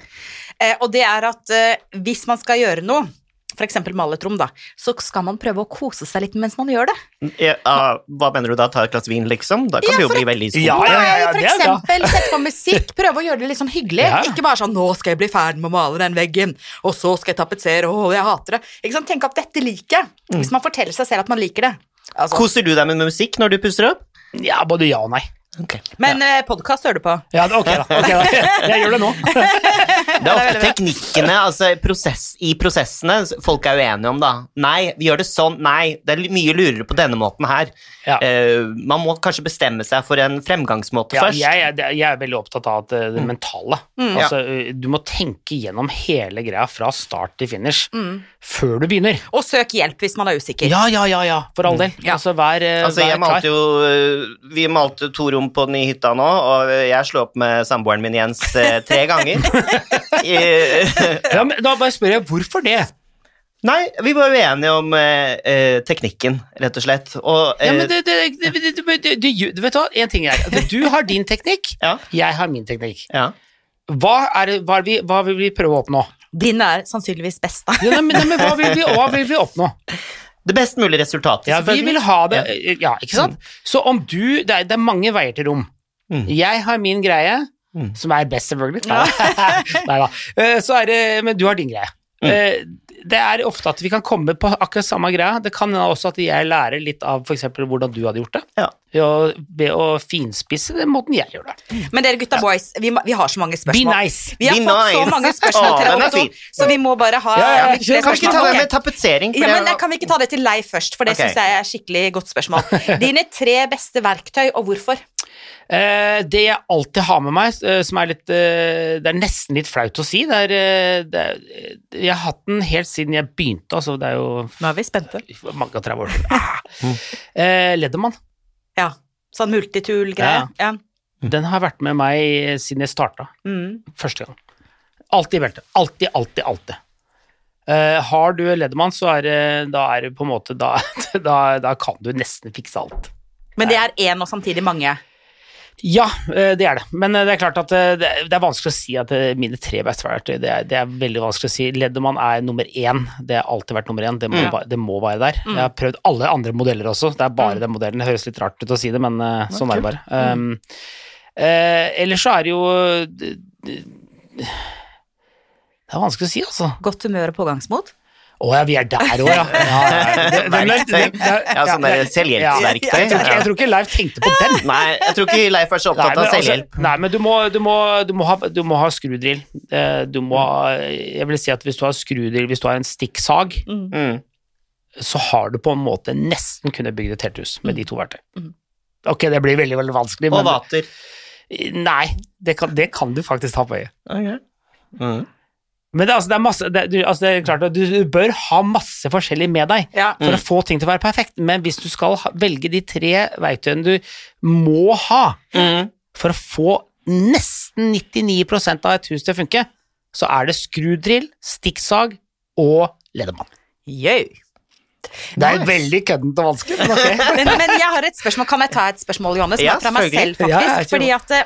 [SPEAKER 1] Eh, og det er at eh, hvis man skal gjøre noe, f.eks. male et rom, da, så skal man prøve å kose seg litt mens man gjør det.
[SPEAKER 2] Ja, ah, hva mener du da? Ta et glass vin, liksom? Da kan
[SPEAKER 1] Ja,
[SPEAKER 2] vi jo
[SPEAKER 1] for
[SPEAKER 2] bli
[SPEAKER 1] at-
[SPEAKER 2] veldig sko.
[SPEAKER 3] Ja, ja, ja, ja,
[SPEAKER 1] Nei,
[SPEAKER 3] det er bra.
[SPEAKER 1] for eksempel sette på musikk, prøve å gjøre det litt sånn hyggelig.
[SPEAKER 3] Ja.
[SPEAKER 1] Ikke bare sånn 'nå skal jeg bli ferdig med å male den veggen', og så skal jeg tapetsere, å, jeg hater det. Ikke sant? Tenk at dette liker jeg,
[SPEAKER 3] Mm.
[SPEAKER 1] hvis man forteller seg selv at man liker det. Altså,
[SPEAKER 2] Koser du deg med musikk når du pusser opp?
[SPEAKER 3] ja, både ja og nei.
[SPEAKER 1] men eh, podkast hører du på.
[SPEAKER 3] Ja, ok, da. ok da. Jeg gjør det nå.
[SPEAKER 2] Det er ofte teknikkene altså prosess, i prosessene folk er uenige om, da. Nei, vi gjør det sånn. Nei, det er mye lurere på denne måten her.
[SPEAKER 3] Ja.
[SPEAKER 2] Eh, man må kanskje bestemme seg for en fremgangsmåte
[SPEAKER 3] Ja,
[SPEAKER 2] først.
[SPEAKER 3] jeg, er- det er- jeg er veldig opptatt av at eh, det mentale. Altså, eh, du må tenke gjennom hele greia fra start til finish før du begynner.
[SPEAKER 1] Og søk hjelp hvis man er usikker.
[SPEAKER 3] Mm. Ja, ja, ja, ja, for all del. Altså, vær, eh,
[SPEAKER 2] Altså, jeg
[SPEAKER 3] vær klar.
[SPEAKER 2] malte jo, eh, vi malte to rom på den i hytta nå, og eh, jeg slo opp med samboeren min Jens eh, tre ganger. I, eh,
[SPEAKER 3] Ja, men da bare spør jeg, hvorfor det?
[SPEAKER 2] Nei, vi var uenige om eh, eh, teknikken, rett og slett. Og, eh,
[SPEAKER 3] Ja, men det, det, det, det, det, det, det, du vet hva, en ting er, at du har din teknikk,
[SPEAKER 2] Ja.
[SPEAKER 3] jeg har min teknikk.
[SPEAKER 2] ja.
[SPEAKER 3] Hva, er, det- hva, er det vi, hva vil vi prøve å oppnå?
[SPEAKER 1] Din er sannsynligvis best, da.
[SPEAKER 3] Ja, nei, men, nei, men hva, vil vi, hva vil vi oppnå?
[SPEAKER 2] Det best mulige resultatet,
[SPEAKER 3] Ja, vi vil
[SPEAKER 2] selvfølgelig.
[SPEAKER 3] ha det eh, Ja, ikke sant? Så om du Det er, det er mange veier til rom.
[SPEAKER 2] Mm.
[SPEAKER 3] Jeg har min greie,
[SPEAKER 2] Mm.
[SPEAKER 3] som er best, selvfølgelig. Nei da. Eh, Så er det Men du har din greie.
[SPEAKER 2] Mm.
[SPEAKER 3] Eh, Det er ofte at vi kan komme på akkurat samme greia. Det kan hende også at jeg lærer litt av f.eks. hvordan du hadde gjort det.
[SPEAKER 2] Ja.
[SPEAKER 3] Ved å, ved å finspisse den måten jeg gjør det.
[SPEAKER 1] Men dere gutta boys, vi, må- vi har så mange
[SPEAKER 3] Be
[SPEAKER 1] spørsmål.
[SPEAKER 3] nice!
[SPEAKER 1] Vi har
[SPEAKER 2] Be
[SPEAKER 1] fått så
[SPEAKER 2] nice.
[SPEAKER 1] mange spørsmål
[SPEAKER 2] Å,
[SPEAKER 1] til
[SPEAKER 2] den
[SPEAKER 1] dere
[SPEAKER 2] er
[SPEAKER 1] også,
[SPEAKER 2] fin.
[SPEAKER 1] så vi må bare ha
[SPEAKER 3] Ja, ja, ja.
[SPEAKER 1] viktige
[SPEAKER 2] Kan vi ikke ta
[SPEAKER 1] spørsmål.
[SPEAKER 2] det med
[SPEAKER 1] Ok.
[SPEAKER 2] tapetsering? for
[SPEAKER 1] Ja,
[SPEAKER 2] det
[SPEAKER 1] men
[SPEAKER 2] var-
[SPEAKER 1] jeg Kan vi ikke ta det til Leif først, for det
[SPEAKER 2] Ok.
[SPEAKER 1] synes jeg er et skikkelig godt spørsmål. Dine tre beste verktøy, og hvorfor?
[SPEAKER 3] Eh, det jeg alltid har med meg, eh, som er litt eh, Det er nesten litt flaut å si. Det er, eh, det er, eh, jeg har hatt den helt siden jeg begynte, altså. Det er jo
[SPEAKER 1] Nå er vi spente.
[SPEAKER 3] for mange og 30 år siden. Eh, Ledermann.
[SPEAKER 1] Ja. Sånn multitool-greie. Ja.
[SPEAKER 3] Den har vært med meg siden jeg starta,
[SPEAKER 1] Mm.
[SPEAKER 3] første gang. Alltid i beltet. Alltid, alltid, alltid. Eh, har du Ledermann, så er det Da er det på en måte Da, da, da kan du nesten fikse alt.
[SPEAKER 1] Men det er én og samtidig mange.
[SPEAKER 3] Ja, eh, det er det. Men eh, det er klart at eh, det det er vanskelig å si at eh, mine tre beste verktøy det er, det er veldig vanskelig å si. Ledermann er nummer én. Det har alltid vært nummer én. Det må,
[SPEAKER 1] Mm.
[SPEAKER 3] ba- det må være der. Jeg har prøvd alle andre modeller også. Det er bare den modellen. Det høres litt rart ut å si det, men eh, sånn er det bare. Um, eh, ellers så er det jo det, det, det er vanskelig å si, altså.
[SPEAKER 1] Godt humør og pågangsmot.
[SPEAKER 3] Å ja, vi er der òg, ja. ja, ja. Det- det- det-
[SPEAKER 2] Verktøy.
[SPEAKER 3] det- det-
[SPEAKER 2] Ja, sånn der selvhjelpsverktøy.
[SPEAKER 3] Jeg tror ikke- jeg tror ikke Leif tenkte på den.
[SPEAKER 2] Nei, jeg tror ikke Leif er så
[SPEAKER 3] Nei,
[SPEAKER 2] opptatt
[SPEAKER 3] men,
[SPEAKER 2] av selvhjelp.
[SPEAKER 3] altså, nei, men du må, du må, du må ha, du må ha skrudrill. Eh, Du må ha, jeg vil si at hvis du har skrudrill, hvis du har en stikksag,
[SPEAKER 2] Mm.
[SPEAKER 3] så har du på en måte nesten kunnet bygge et helt hus med de to verktøy. Ok, det blir veldig, veldig vanskelig,
[SPEAKER 2] Mm. Og
[SPEAKER 3] men
[SPEAKER 2] vater.
[SPEAKER 3] Nei, det kan, det kan du faktisk ta på øyet.
[SPEAKER 2] Ok. Mm.
[SPEAKER 3] Men det, er altså, det er masse det, du, altså, det er klart at du, du bør ha masse forskjellig med deg
[SPEAKER 1] Ja.
[SPEAKER 3] for å
[SPEAKER 2] Mm.
[SPEAKER 3] få ting til å være perfekt, men hvis du skal ha, velge de tre verktøyene du må ha,
[SPEAKER 2] Mm.
[SPEAKER 3] for å få nesten 99 av et hus til å funke, så er det skrudrill, stikksag og ledermann.
[SPEAKER 1] Jøy.
[SPEAKER 3] Det er
[SPEAKER 2] Nice.
[SPEAKER 3] veldig køddent og vanskelig, men ok.
[SPEAKER 1] Men, men jeg har et spørsmål. Kan jeg ta et spørsmål, Johannes?
[SPEAKER 2] Ja,
[SPEAKER 1] Ja, fra meg selv,
[SPEAKER 2] selvfølgelig.
[SPEAKER 3] Ja,
[SPEAKER 1] faktisk.
[SPEAKER 3] jeg tror-
[SPEAKER 1] fordi at eh,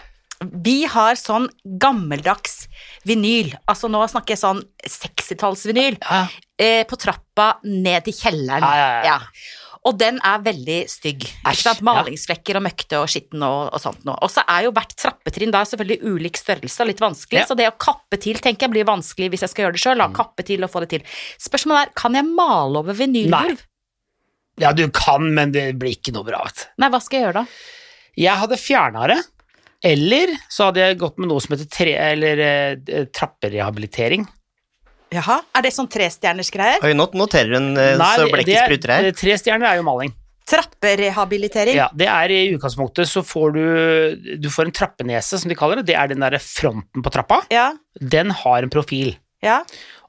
[SPEAKER 1] vi har sånn gammeldags vinyl. Altså nå snakker jeg sånn 60-tallsvinyl.
[SPEAKER 3] Ja.
[SPEAKER 1] Eh, på trappa ned i kjelleren.
[SPEAKER 3] Ja, ja, ja.
[SPEAKER 1] Og den er veldig stygg. Ikke
[SPEAKER 3] Æsj,
[SPEAKER 1] sant?
[SPEAKER 3] ja.
[SPEAKER 1] Malingsflekker og møkte og skitten og, og sånt noe. Og så er jo hvert trappetrinn da selvfølgelig ulik størrelse og litt vanskelig,
[SPEAKER 3] Ja. Mm.
[SPEAKER 1] så det å kappe til tenker jeg blir vanskelig hvis jeg skal gjøre det sjøl. Kappe til og få det til. Spørsmålet er, kan jeg male over vinylgulv?
[SPEAKER 3] ja, du kan, men det blir ikke noe bra. Vet.
[SPEAKER 1] Nei, hva skal jeg gjøre da?
[SPEAKER 3] du. Jeg hadde fjerna det, eller så hadde jeg gått med noe som heter tre, eller, eh, trapperehabilitering.
[SPEAKER 1] Jaha, Er det sånn trestjerners greier?
[SPEAKER 2] Oi, nå noterer hun eh,
[SPEAKER 3] Nei,
[SPEAKER 2] så
[SPEAKER 3] det-
[SPEAKER 2] blekket
[SPEAKER 3] det er-
[SPEAKER 2] spruter her.
[SPEAKER 3] eh, Tre stjerner er jo maling.
[SPEAKER 1] Trapperehabilitering?
[SPEAKER 3] Ja, det er I utgangspunktet så får du, du får en trappenese, som de kaller det. Det er den derre fronten på trappa.
[SPEAKER 1] Ja.
[SPEAKER 3] Den har en profil.
[SPEAKER 1] ja.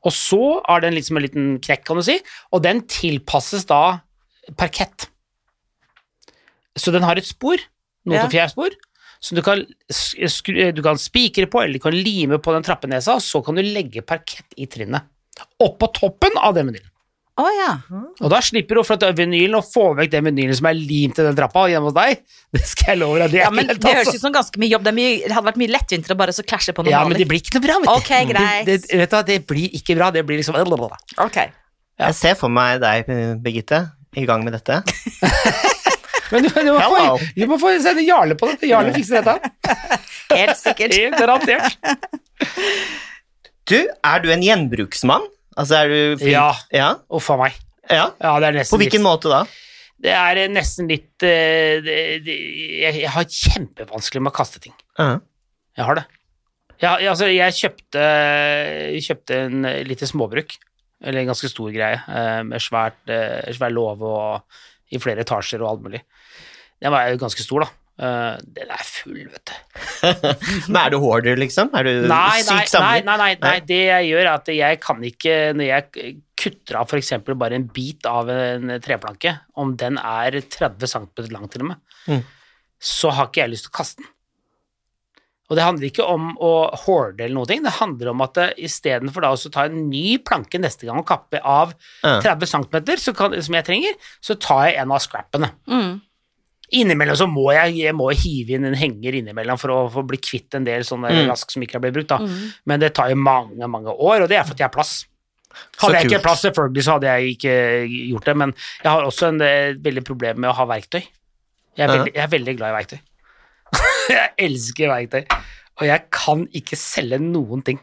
[SPEAKER 3] Og så har den liksom en liten knekk, kan du si, og den tilpasses da parkett. Så den har et spor,
[SPEAKER 1] Ja.
[SPEAKER 3] noe til fjærspor, som du kan, s- skru, du kan spikre på, eller du kan lime på den trappenesa, og så kan du legge parkett i trinnet. Oppå toppen av den vinylen.
[SPEAKER 1] Å ja.
[SPEAKER 3] Og da slipper du for at det er vinylen å få vekk den vinylen som er limt til den trappa hjemme hos deg. Det skal jeg love deg. Det er
[SPEAKER 1] ja. Men
[SPEAKER 3] ikke
[SPEAKER 1] det
[SPEAKER 3] lett,
[SPEAKER 1] høres
[SPEAKER 3] altså.
[SPEAKER 1] ut som ganske mye jobb. Det, er mye, det hadde vært mye lettvint å bare så klasje på noen
[SPEAKER 3] Ja, men
[SPEAKER 1] maler.
[SPEAKER 3] det blir ikke noe bra, vet du.
[SPEAKER 1] Ok, greit.
[SPEAKER 3] Det, det, vet du, hva, det blir ikke bra. Det blir liksom
[SPEAKER 1] Ok.
[SPEAKER 2] Jeg ser for meg deg, eh, Birgitte, i gang med dette.
[SPEAKER 3] Men du, du, må
[SPEAKER 2] Hello.
[SPEAKER 3] få, du må få sende Jarle på det. Jarle fikser dette.
[SPEAKER 1] Helt sikkert.
[SPEAKER 3] Helt garantert.
[SPEAKER 2] Du, er du en gjenbruksmann? Altså, er du flink?
[SPEAKER 3] Ja.
[SPEAKER 2] ja.
[SPEAKER 3] Uff a meg.
[SPEAKER 2] Ja.
[SPEAKER 3] Ja, det er nesten
[SPEAKER 2] På hvilken
[SPEAKER 3] litt,
[SPEAKER 2] måte da?
[SPEAKER 3] Det er nesten litt eh, det, det, jeg, jeg har kjempevanskelig med å kaste ting.
[SPEAKER 2] Ja.
[SPEAKER 3] Jeg har det. Jeg, jeg, altså, jeg kjøpte, kjøpte en eh, lite småbruk, eller en ganske stor greie, eh, med svært, eh, svær låve og i flere etasjer og alt mulig. Den var jo ganske stor, da. Eh, den er full, vet du.
[SPEAKER 2] Men er du hoarder, liksom? Er du
[SPEAKER 3] Nei, nei,
[SPEAKER 2] syk
[SPEAKER 3] nei,
[SPEAKER 2] samler?
[SPEAKER 3] nei, nei, nei,
[SPEAKER 2] Nei.
[SPEAKER 3] det jeg gjør er at jeg kan ikke, når jeg kutter av for eksempel bare en bit av en treplanke, om den er 30 cm lang til og med,
[SPEAKER 2] Mm.
[SPEAKER 3] så har ikke jeg lyst til å kaste den. Og det handler ikke om å hoarde eller noe, det handler om at eh, istedenfor da å ta en ny planke neste gang og kappe av
[SPEAKER 2] Ja.
[SPEAKER 3] 30 cm som jeg trenger, så tar jeg en av scrappene.
[SPEAKER 1] Mm.
[SPEAKER 3] Innimellom så må jeg, jeg må hive inn en henger innimellom for å, for å bli kvitt en del sånne
[SPEAKER 2] Mm.
[SPEAKER 3] rask som ikke har blitt brukt. Da. Men det tar jo mange mange år, og det er fordi jeg har plass. Hadde jeg ikke
[SPEAKER 2] kult.
[SPEAKER 3] plass, selvfølgelig så hadde jeg ikke gjort det, men jeg har også en eh, veldig problem med å ha verktøy. Jeg er
[SPEAKER 2] Ja.
[SPEAKER 3] veldig, jeg er veldig glad i verktøy. jeg elsker verktøy. Og jeg kan ikke selge noen ting.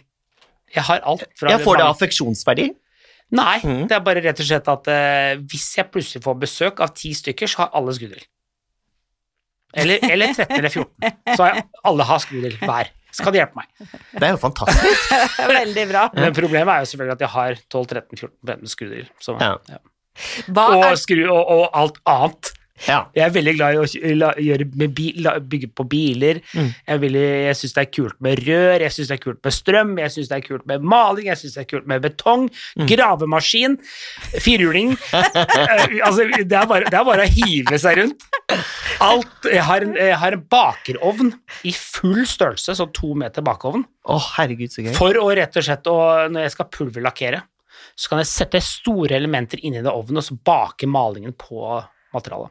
[SPEAKER 3] Jeg har alt fra
[SPEAKER 2] Jeg får det affeksjonsverdi.
[SPEAKER 3] Nei,
[SPEAKER 2] Mhm.
[SPEAKER 3] det er bare rett og slett at eh, hvis jeg plutselig får besøk av ti stykker, så har alle skrudel. Eller, eller 13 eller 14. Så har jeg, alle har skrudel hver. Så kan de hjelpe meg.
[SPEAKER 2] Det er jo fantastisk.
[SPEAKER 1] Veldig bra.
[SPEAKER 3] Men problemet er jo selvfølgelig at jeg har 12, 13, 14, 15 skrudel. Så,
[SPEAKER 2] Ja.
[SPEAKER 3] ja.
[SPEAKER 1] Hva
[SPEAKER 3] Og,
[SPEAKER 1] er
[SPEAKER 3] skru, og, og alt annet.
[SPEAKER 2] Ja.
[SPEAKER 3] Jeg er veldig glad i å kj- la- gjøre med bil, la- bygge på biler. Jeg, er veldig- jeg syns det er kult med rør, jeg syns det er kult med strøm, jeg syns det er kult med maling, jeg syns det er kult med betong, gravemaskin, firhjuling Eh, Altså, det er, bare, det er bare å hive seg rundt. Alt Jeg har en, jeg har en bakerovn i full størrelse, så to meter bakeovn,
[SPEAKER 2] Å, herregud, så gøy.
[SPEAKER 3] for å rett og slett å Når jeg skal pulverlakkere, så kan jeg sette store elementer inni den ovnen, og så bake malingen på materialet.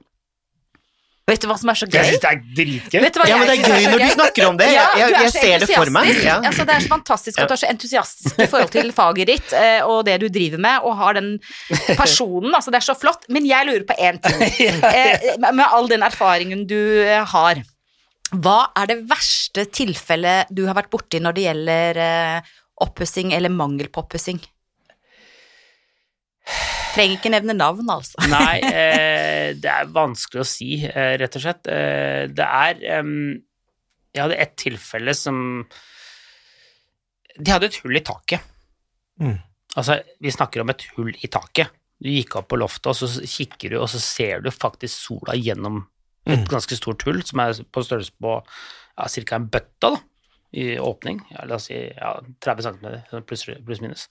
[SPEAKER 1] Vet du hva som er så
[SPEAKER 3] Jeg
[SPEAKER 1] gøy?
[SPEAKER 3] syns det er sånn. dritgøy.
[SPEAKER 1] Vet du hva
[SPEAKER 2] Ja, men
[SPEAKER 1] jeg
[SPEAKER 2] det er
[SPEAKER 1] synes
[SPEAKER 2] gøy
[SPEAKER 1] så
[SPEAKER 2] når du snakker om det.
[SPEAKER 1] Ja,
[SPEAKER 2] Jeg,
[SPEAKER 1] du
[SPEAKER 2] jeg,
[SPEAKER 1] er
[SPEAKER 2] jeg
[SPEAKER 1] så
[SPEAKER 2] ser det for meg.
[SPEAKER 1] entusiastisk.
[SPEAKER 2] Ja.
[SPEAKER 1] Altså, det er så fantastisk at du er så entusiastisk i forhold til faget ditt eh, og det du driver med, og har den personen. Altså, det er så flott. Men jeg lurer på én ting, eh, med all den erfaringen du eh, har. Hva er det verste tilfellet du har vært borti når det gjelder eh, oppussing eller mangel på oppussing? Trenger ikke nevne navn, altså.
[SPEAKER 3] Nei, eh, det er vanskelig å si, eh, rett og slett. Eh, det er em, Jeg hadde ett tilfelle som De hadde et hull i taket.
[SPEAKER 2] Mm.
[SPEAKER 3] Altså, vi snakker om et hull i taket. Du gikk opp på loftet, og så kikker du, og så ser du faktisk sola gjennom et ganske stort hull, som er på størrelse på ja, ca. en bøtte da, i åpning. Ja, la oss si ja, 30 cm, pluss, pluss minus.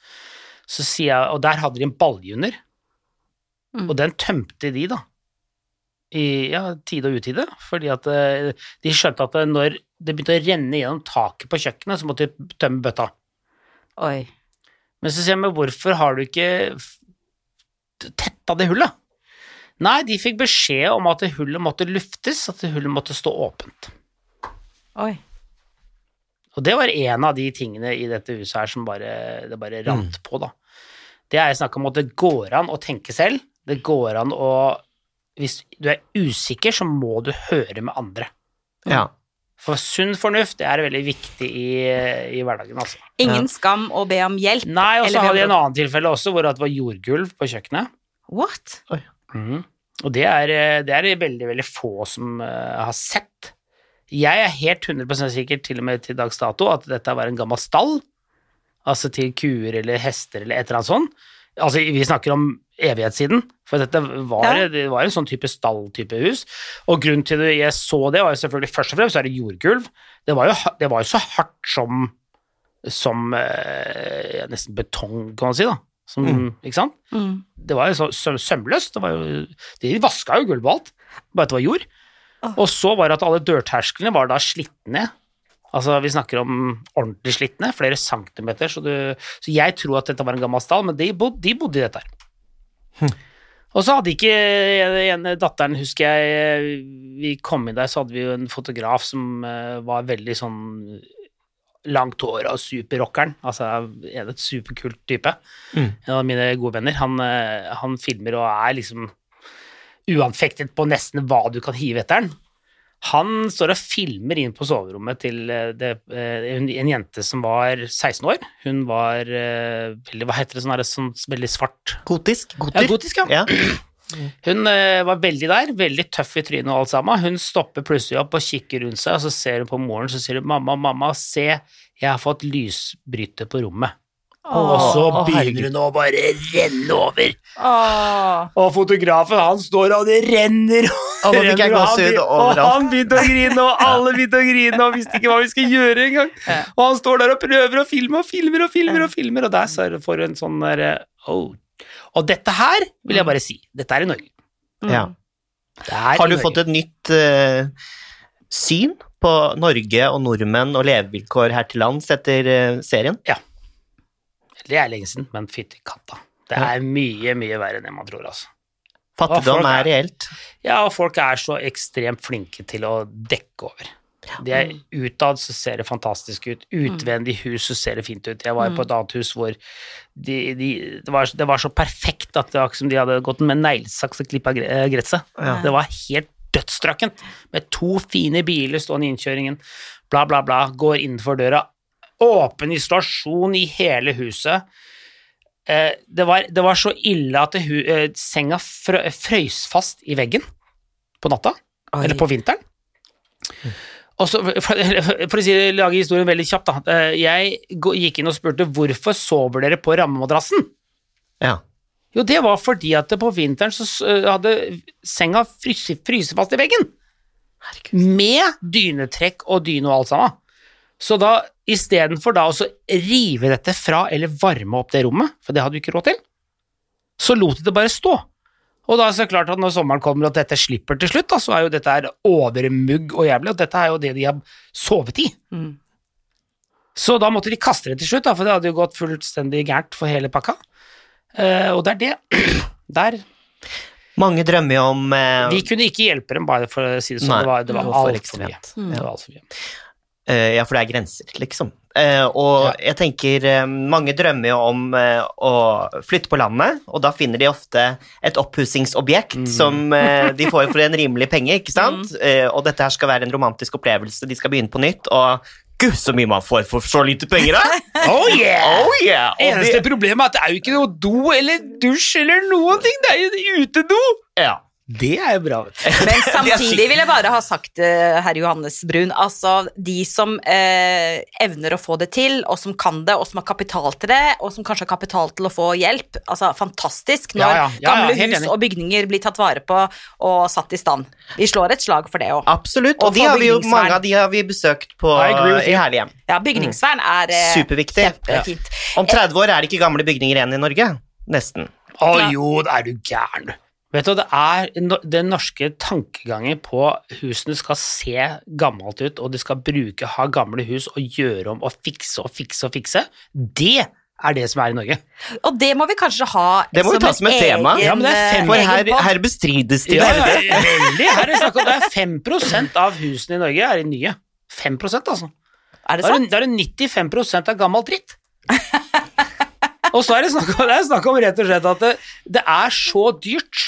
[SPEAKER 3] Så sier jeg, Og der hadde de en balje under.
[SPEAKER 1] Mm.
[SPEAKER 3] Og den tømte de, da. I ja, tide og utide. Fordi at eh, de skjønte at eh, når det begynte å renne gjennom taket på kjøkkenet, så måtte de tømme bøtta.
[SPEAKER 1] Oi.
[SPEAKER 3] Men så sier jeg, men hvorfor har du ikke f- tetta det hullet? Nei, de fikk beskjed om at det hullet måtte luftes, at det hullet måtte stå åpent.
[SPEAKER 1] Oi.
[SPEAKER 3] Og det var en av de tingene i dette huset her som bare, det bare rant på, da. Det er snakk om at det går an å tenke selv. Det går an å Hvis du er usikker, så må du høre med andre.
[SPEAKER 2] Ja.
[SPEAKER 3] For sunn fornuft det er veldig viktig i, i hverdagen, altså.
[SPEAKER 1] Ingen skam å be om hjelp.
[SPEAKER 3] Nei, og
[SPEAKER 1] Eller
[SPEAKER 3] så hadde jeg
[SPEAKER 1] hvem-
[SPEAKER 3] en annen tilfelle også, hvor det var jordgulv på kjøkkenet.
[SPEAKER 1] What?
[SPEAKER 3] Mhm. Og det er, eh, det er veldig, veldig få som eh, har sett. Jeg er helt 100 sikker til og med til dags dato at dette var en gammel stall, altså til kuer eller hester eller et eller annet sånt. Altså, vi snakker om evighetssiden, for dette var,
[SPEAKER 1] Ja.
[SPEAKER 3] det var en sånn type stall-type hus. Og grunnen til at jeg så det, var jo selvfølgelig først og fremst er det jordgulv. Det var jo, ha- det var jo så hardt som, som eh, ja, nesten betong, kan man si, da. Som, Ikke sant?
[SPEAKER 1] Mm.
[SPEAKER 3] det var jo så sø- sømløst. Det var jo, de vaska jo gulvet og alt, bare at det var jord.
[SPEAKER 1] Åh.
[SPEAKER 3] Og så var det at alle dørtersklene var da slitt ned. Altså, vi snakker om ordentlig slitt ned, flere centimeter, så, du, så jeg tror at dette var en gammel stall, men de, bod, de bodde i dette her. Og så hadde ikke en, en datteren, husker jeg, vi kom inn der, så hadde vi jo en fotograf som eh, var veldig sånn langt hår og superrockeren, altså en et superkult type en av mine gode venner, han, eh, han filmer og er liksom uanfektet på nesten hva du kan hive etter han. Han står og filmer inn på soverommet til eh, det, eh, en, en jente som var 16 år. Hun var eh, veldig, hva heter det, sånn, her, sånn veldig svart.
[SPEAKER 2] Gotisk.
[SPEAKER 3] Ja,
[SPEAKER 2] Goter.
[SPEAKER 3] gotisk, ja.
[SPEAKER 2] Ja.
[SPEAKER 3] Hun eh, var veldig der, veldig tøff i trynet og alt sammen. Hun stopper plutselig opp og kikker rundt seg, og så ser hun på moren, så sier hun 'mamma, mamma, se, jeg har fått lysbryter på rommet'. Og så
[SPEAKER 2] Å, herregud.
[SPEAKER 3] begynner hun å bare renne over.
[SPEAKER 1] Åh.
[SPEAKER 3] Og fotografen, han står og det renner
[SPEAKER 2] Og nå fikk jeg
[SPEAKER 3] renner, og han
[SPEAKER 2] gåsehud
[SPEAKER 3] begyn-
[SPEAKER 2] overalt.
[SPEAKER 3] Og han begynte å grine, og alle begynte å grine, og visste ikke hva vi skulle gjøre engang.
[SPEAKER 1] Ja.
[SPEAKER 3] Og han står der og prøver og filmer og filmer og filmer, og filmer, og der så er det- får du en sånn der eh, oh. Og dette her, vil jeg bare si, dette er i Norge.
[SPEAKER 1] Mm.
[SPEAKER 2] Ja.
[SPEAKER 3] Det er
[SPEAKER 2] Har du
[SPEAKER 3] i Norge.
[SPEAKER 2] fått et nytt eh, syn på Norge og nordmenn og levevilkår her til lands etter eh, serien?
[SPEAKER 3] Det er lenge siden, men fytti katta. Det er mye, mye verre enn det man tror, altså. Og
[SPEAKER 2] Fattigdom
[SPEAKER 3] folk
[SPEAKER 2] er
[SPEAKER 3] er-
[SPEAKER 2] reelt.
[SPEAKER 3] Ja, og folk er så ekstremt flinke til å dekke over. Det er Utad så ser det fantastisk ut. Utvendig hus så ser det fint ut. Jeg var på et annet hus hvor de, de, det, var, det var så perfekt at det var ikke som de hadde gått med neglesaks og klippa gresset. Det var helt dødsdrakkent. Med to fine biler stående i innkjøringen, bla, bla, bla. Går innenfor døra. Åpen isolasjon i hele huset. Eh, det, var, det var så ille at det, hu- eh, senga frø, frøys fast i veggen på natta,
[SPEAKER 1] Oi.
[SPEAKER 3] eller på vinteren. Og så, for, for å si, lage historien veldig kjapt, da. Eh, Jeg gå- gikk inn og spurte hvorfor sover dere på rammemadrassen?
[SPEAKER 2] Ja.
[SPEAKER 3] Jo, det var fordi at på vinteren så s- hadde senga fryse, fryse fast i veggen. Med dynetrekk og dyne og alt sammen. Så da, istedenfor da å så rive dette fra eller varme opp det rommet, for det hadde du ikke råd til, så lot de det bare stå. Og da er det så klart at når sommeren kommer og dette slipper til slutt, da, så er jo dette her overmugg og jævlig, og dette er jo det de har sovet i.
[SPEAKER 1] Mm.
[SPEAKER 3] Så da måtte de kaste det til slutt, da, for det hadde jo gått fullstendig gærent for hele pakka. Eh, og det er det. Der.
[SPEAKER 2] Mange drømmer jo om eh,
[SPEAKER 3] Vi kunne ikke hjelpe dem, bare for å si det sånn.
[SPEAKER 2] Nei,
[SPEAKER 3] Det var, det var
[SPEAKER 2] det var for
[SPEAKER 3] altfor mye.
[SPEAKER 2] ekstremt.
[SPEAKER 3] Det var alt for mye.
[SPEAKER 2] Eh, ja, for det er grenser, liksom. Eh, og jeg tenker eh, mange drømmer jo om eh, å flytte på landet, og da finner de ofte et oppussingsobjekt som eh, de får for en rimelig penge, ikke sant? Eh, og dette her skal være en romantisk opplevelse, de skal begynne på nytt, og gud, så mye man får for så lite penger, da!
[SPEAKER 3] Oh yeah!
[SPEAKER 2] Oh yeah! Og
[SPEAKER 3] Eneste
[SPEAKER 2] de,
[SPEAKER 3] problemet er at det er jo ikke noe do eller dusj eller noen ting. Det er jo utedo!
[SPEAKER 2] ja.
[SPEAKER 3] Det er jo bra, vet du.
[SPEAKER 1] Men
[SPEAKER 2] De er
[SPEAKER 1] samtidig
[SPEAKER 2] syke.
[SPEAKER 1] vil jeg bare ha sagt, eh, herr Johannes Brun, altså de som eh, evner å få det til, og som kan det, og som har kapital til det, og som kanskje har kapital til å få hjelp, altså fantastisk når
[SPEAKER 3] Ja, ja. Ja, ja,
[SPEAKER 1] gamle
[SPEAKER 3] helt
[SPEAKER 1] hus
[SPEAKER 3] enig.
[SPEAKER 1] og bygninger blir tatt vare på og satt i stand. Vi slår et slag for det òg.
[SPEAKER 2] Absolutt, og,
[SPEAKER 1] Og
[SPEAKER 2] de
[SPEAKER 1] for
[SPEAKER 2] har vi jo,
[SPEAKER 1] bygningsvern.
[SPEAKER 2] mange av de har vi besøkt på,
[SPEAKER 3] I agree with
[SPEAKER 2] i
[SPEAKER 3] you.
[SPEAKER 2] Herlighjem.
[SPEAKER 1] Ja,
[SPEAKER 3] Mm.
[SPEAKER 1] bygningsvern er eh,
[SPEAKER 2] Superviktig.
[SPEAKER 1] kjempefint.
[SPEAKER 2] Om 30 år er det ikke gamle bygninger igjen i Norge. Nesten.
[SPEAKER 3] Å jo, da er du gæren, du. Vet du, det er no- den norske tankegangen på husene skal se gammelt ut, og du skal bruke, ha gamle hus og gjøre om og fikse og fikse og fikse. Det er det som er i Norge.
[SPEAKER 1] Og det må vi kanskje ha
[SPEAKER 2] Det må vi ta som et tema.
[SPEAKER 1] egen,
[SPEAKER 3] Ja, men det er fem-
[SPEAKER 1] eh,
[SPEAKER 2] For
[SPEAKER 1] egen
[SPEAKER 2] her,
[SPEAKER 1] podd.
[SPEAKER 2] her bestrides de
[SPEAKER 3] Ja,
[SPEAKER 2] det.
[SPEAKER 3] ja, ja, veldig. Her er det snakk om det er 5 av husene i Norge er i nye. 5 altså.
[SPEAKER 1] Er det
[SPEAKER 3] Da er
[SPEAKER 1] sant?
[SPEAKER 3] det, da er det 95 av gammel dritt. Og så er det snakk om, det er snakk om rett og slett at det, det er så dyrt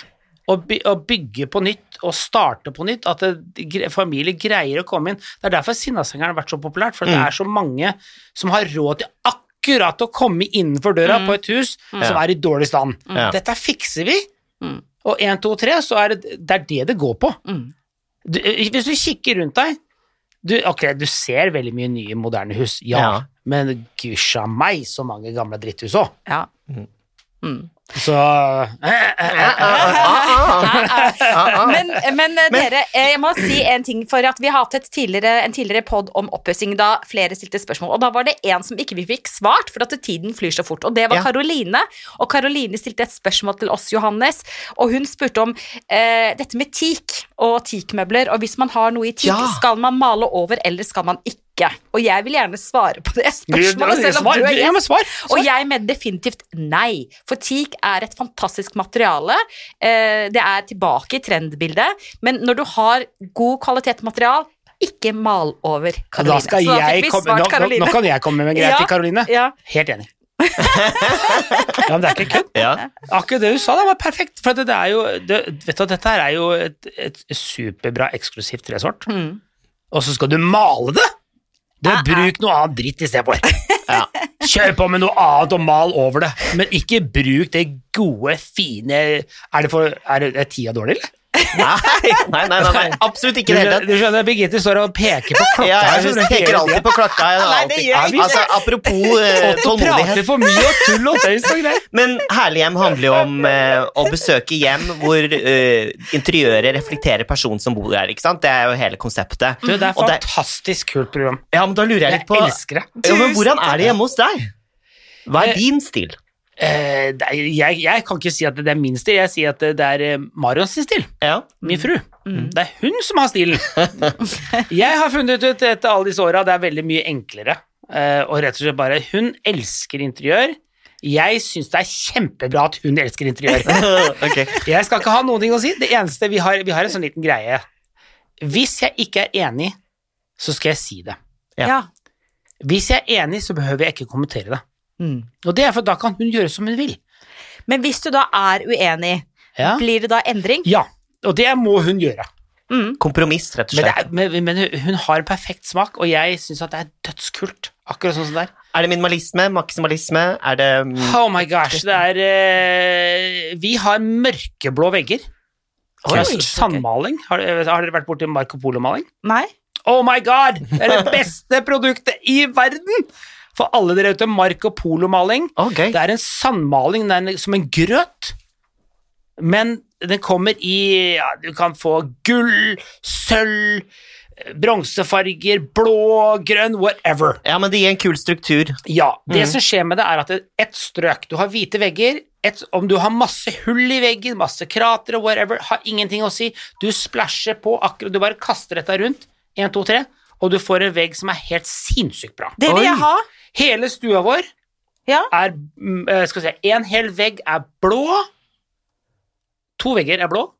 [SPEAKER 3] å, by, å bygge på nytt og starte på nytt at det, gre- familier greier å komme inn. Det er derfor Sinnasengeren har vært så populært, for det
[SPEAKER 1] Mm.
[SPEAKER 3] er så mange som har råd til akkurat å komme innenfor døra på et hus som
[SPEAKER 2] Ja.
[SPEAKER 3] er i dårlig stand.
[SPEAKER 2] Ja.
[SPEAKER 3] Dette fikser vi. Og 1, 2, 3, så er det det, er det, det går på. Du, eh, hvis du kikker rundt deg du, Ok, du ser veldig mye nye, moderne hus, ja.
[SPEAKER 2] Ja.
[SPEAKER 3] Men gudskja meg, så mange gamle dritthus òg.
[SPEAKER 1] Ja.
[SPEAKER 3] Så eh,
[SPEAKER 1] Men, men eh, dere, eh, jeg må si en ting, for at vi har hatt et tidligere, en tidligere pod om oppussing da flere stilte spørsmål, og da var det en som ikke vi fikk svart, for at tiden flyr så fort, og det var
[SPEAKER 2] Ja.
[SPEAKER 1] Karoline, og Karoline stilte et spørsmål til oss, Johannes, og hun spurte om eh, dette med teak og teakmøbler, og hvis man har noe i teak,
[SPEAKER 2] Ja.
[SPEAKER 1] skal man male over, eller skal man ikke? Og jeg vil gjerne svare på det spørsmålet, selv om
[SPEAKER 3] Svar,
[SPEAKER 1] du er
[SPEAKER 3] ja,
[SPEAKER 1] gjest.
[SPEAKER 3] men svar.
[SPEAKER 1] Og
[SPEAKER 3] svar.
[SPEAKER 1] jeg mener definitivt nei, for teak er et fantastisk materiale. Eh, Det er tilbake i trendbildet, men når du har god kvalitet material, ikke mal over Karoline.
[SPEAKER 3] Da skal
[SPEAKER 1] Så da fikk
[SPEAKER 3] jeg
[SPEAKER 1] vi
[SPEAKER 3] komme,
[SPEAKER 1] svart
[SPEAKER 3] nå, nå,
[SPEAKER 1] Karoline.
[SPEAKER 3] nå kan jeg komme med en greie
[SPEAKER 1] Ja,
[SPEAKER 3] til Karoline.
[SPEAKER 1] ja.
[SPEAKER 3] Helt enig. ja, men det er ikke kødd.
[SPEAKER 2] Ja.
[SPEAKER 3] Akkurat det du sa, det var perfekt. For det, det er jo, det, vet du, dette her er jo et, et superbra eksklusivt tresort.
[SPEAKER 2] Mm.
[SPEAKER 3] Og så skal du male det! Du,
[SPEAKER 2] Ah,
[SPEAKER 3] Bruk noe annet dritt istedenfor.
[SPEAKER 2] Ja.
[SPEAKER 3] Kjør på med noe annet og mal over det. Men ikke bruk det gode, fine Er det, for, er det er tida dårlig, eller?
[SPEAKER 2] Nei, nei, nei, nei, nei. Absolutt
[SPEAKER 3] Du
[SPEAKER 2] ikke i det hele
[SPEAKER 3] skjønner,
[SPEAKER 2] tatt.
[SPEAKER 3] du skjønner Birgitte står og peker på klokka.
[SPEAKER 2] Ja,
[SPEAKER 3] her,
[SPEAKER 2] jeg
[SPEAKER 3] så hun
[SPEAKER 2] tenker
[SPEAKER 3] hele
[SPEAKER 2] alltid
[SPEAKER 3] tiden.
[SPEAKER 2] på klokka. Jeg,
[SPEAKER 1] Nei, det
[SPEAKER 2] alltid.
[SPEAKER 1] gjør jeg
[SPEAKER 2] altså, apropos eh,
[SPEAKER 3] Og prater
[SPEAKER 2] tålmodighet.
[SPEAKER 3] for mye og tull og tøys og greier.
[SPEAKER 2] Men Herlighjem handler jo om eh, å besøke hjem hvor eh, interiøret reflekterer personen som bor der. ikke sant? Det er jo hele konseptet.
[SPEAKER 3] Du, det er
[SPEAKER 2] Og det-
[SPEAKER 3] fantastisk kult program.
[SPEAKER 2] ja, men da lurer jeg
[SPEAKER 3] Jeg
[SPEAKER 2] litt på
[SPEAKER 3] elsker det.
[SPEAKER 2] ja, men Hvordan er det hjemme hos deg? Hva er din stil?
[SPEAKER 3] Eh, det er, jeg, jeg kan ikke si at det er min stil, jeg sier at det, det er eh, Marion sin stil.
[SPEAKER 2] Ja.
[SPEAKER 3] Min fru. Det er hun som har stilen. jeg har funnet ut etter alle disse åra det er veldig mye enklere. Eh, og rett og slett bare Hun elsker interiør. Jeg syns det er kjempebra at hun elsker interiør.
[SPEAKER 2] Ok.
[SPEAKER 3] Jeg skal ikke ha noen ting å si. Det eneste vi har, vi har en sånn liten greie. Hvis jeg ikke er enig, så skal jeg si det.
[SPEAKER 2] Ja.
[SPEAKER 1] Ja.
[SPEAKER 3] Hvis jeg er enig, så behøver jeg ikke kommentere det.
[SPEAKER 1] Mm.
[SPEAKER 3] Og det er for da kan hun gjøre som hun vil.
[SPEAKER 1] Men hvis du da er uenig,
[SPEAKER 3] Ja,
[SPEAKER 1] blir det da endring?
[SPEAKER 3] ja og det må hun gjøre.
[SPEAKER 1] Mm.
[SPEAKER 2] Kompromiss, rett og
[SPEAKER 3] Men, det
[SPEAKER 2] slett.
[SPEAKER 3] er, men, men hun har en perfekt smak, og jeg syns at det er dødskult. Akkurat sånn som det er.
[SPEAKER 2] Er det minimalisme? Maksimalisme? Er det mm,
[SPEAKER 3] Oh my gosh, det er eh, Vi har mørkeblå vegger.
[SPEAKER 2] Oi,
[SPEAKER 3] Oi, sandmaling. Har, har dere vært borti Marco Polo-maling?
[SPEAKER 1] Nei?
[SPEAKER 3] Oh my god! Det er det beste produktet i verden! For alle dere ute, Marco Polo-maling.
[SPEAKER 2] Å, gøy.
[SPEAKER 3] Det er en sandmaling, den er som en grøt. Men den kommer i ja, Du kan få gull, sølv, bronsefarger, blå, grønn, whatever.
[SPEAKER 2] Ja, men det gir en kul struktur.
[SPEAKER 3] Ja,
[SPEAKER 1] Mm.
[SPEAKER 3] det som skjer med det er at det er ett strøk, du har hvite vegger, et, om du har masse hull i veggen, masse kratere, whatever, har ingenting å si, du splasjer på akkurat, du bare kaster dette rundt, 1, 2, 3, og du får en vegg som er helt sinnssykt bra.
[SPEAKER 1] Det vil
[SPEAKER 2] Oi.
[SPEAKER 1] jeg ha.
[SPEAKER 3] Hele stua vår
[SPEAKER 1] Ja.
[SPEAKER 3] er, mm, eh, skal vi se, en hel vegg er blå, to vegger er blå,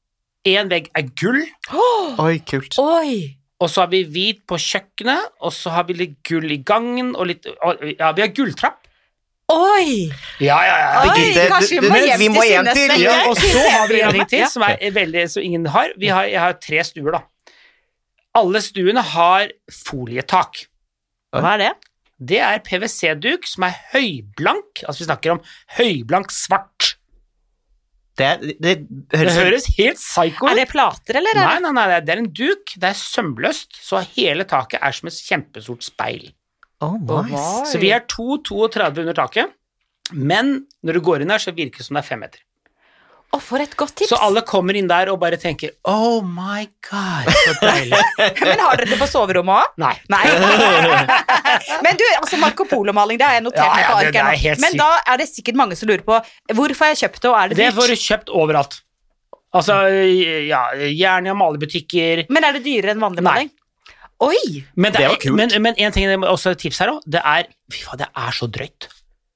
[SPEAKER 3] en vegg er gull,
[SPEAKER 1] Åh,
[SPEAKER 2] Oi, kult.
[SPEAKER 1] Oi!
[SPEAKER 3] og så har vi hvit på kjøkkenet, og så har vi litt gull i gangen, og litt, og, ja, vi har gulltrapp.
[SPEAKER 1] Oi!
[SPEAKER 3] Ja, ja, ja.
[SPEAKER 1] Oi,
[SPEAKER 2] Birgitte,
[SPEAKER 1] kanskje vi
[SPEAKER 2] du-
[SPEAKER 1] må
[SPEAKER 2] du-
[SPEAKER 1] hjem
[SPEAKER 2] vi
[SPEAKER 1] til
[SPEAKER 2] må hjem
[SPEAKER 1] Synnes
[SPEAKER 2] til-
[SPEAKER 1] Vekke?
[SPEAKER 3] Ja, og så har vi en ting til
[SPEAKER 1] Ah, Ja.
[SPEAKER 3] som, er veldig, som ingen har. Vi har. Jeg har tre stuer, da. Alle stuene har folietak.
[SPEAKER 1] Hva er det?
[SPEAKER 3] Det er PwC-duk som er høyblank, altså vi snakker om høyblank svart.
[SPEAKER 2] Det, er- det
[SPEAKER 3] Det
[SPEAKER 2] høres
[SPEAKER 3] høres helt psycho
[SPEAKER 1] Er
[SPEAKER 3] ut.
[SPEAKER 1] det plater, eller?
[SPEAKER 3] Nei,
[SPEAKER 1] Er det?
[SPEAKER 3] nei, nei, det er en duk. Det er sømløst, så hele taket er som et kjempestort speil.
[SPEAKER 2] Å, nice.
[SPEAKER 1] Oi.
[SPEAKER 3] Så vi er 2,32 under taket, men når du går inn her, så virker det som det er fem meter.
[SPEAKER 1] Å, for et godt tips!
[SPEAKER 3] Så alle kommer inn der og bare tenker 'oh my god', så deilig.
[SPEAKER 1] Men har dere det på soverommet òg?
[SPEAKER 3] Nei.
[SPEAKER 1] Nei. Men du, altså Marco Polo-maling, det har jeg notert
[SPEAKER 3] Ja,
[SPEAKER 1] meg
[SPEAKER 3] ja,
[SPEAKER 1] på
[SPEAKER 3] det-
[SPEAKER 1] arket.
[SPEAKER 3] det er
[SPEAKER 1] nå.
[SPEAKER 3] helt
[SPEAKER 1] Men
[SPEAKER 3] sykt.
[SPEAKER 1] da er det sikkert mange som lurer på hvorfor har jeg kjøpt det, og er det
[SPEAKER 3] Det får
[SPEAKER 1] dyrt?
[SPEAKER 3] du kjøpt overalt. Altså, ja, gjerne i malebutikker.
[SPEAKER 1] Men er det dyrere enn vanlig
[SPEAKER 3] Nei.
[SPEAKER 1] maling? Oi!
[SPEAKER 3] Men det,
[SPEAKER 2] Det var
[SPEAKER 3] er,
[SPEAKER 2] kult.
[SPEAKER 3] men, men en ting jeg må også et tips her også, det er Fy faen, det er så drøyt.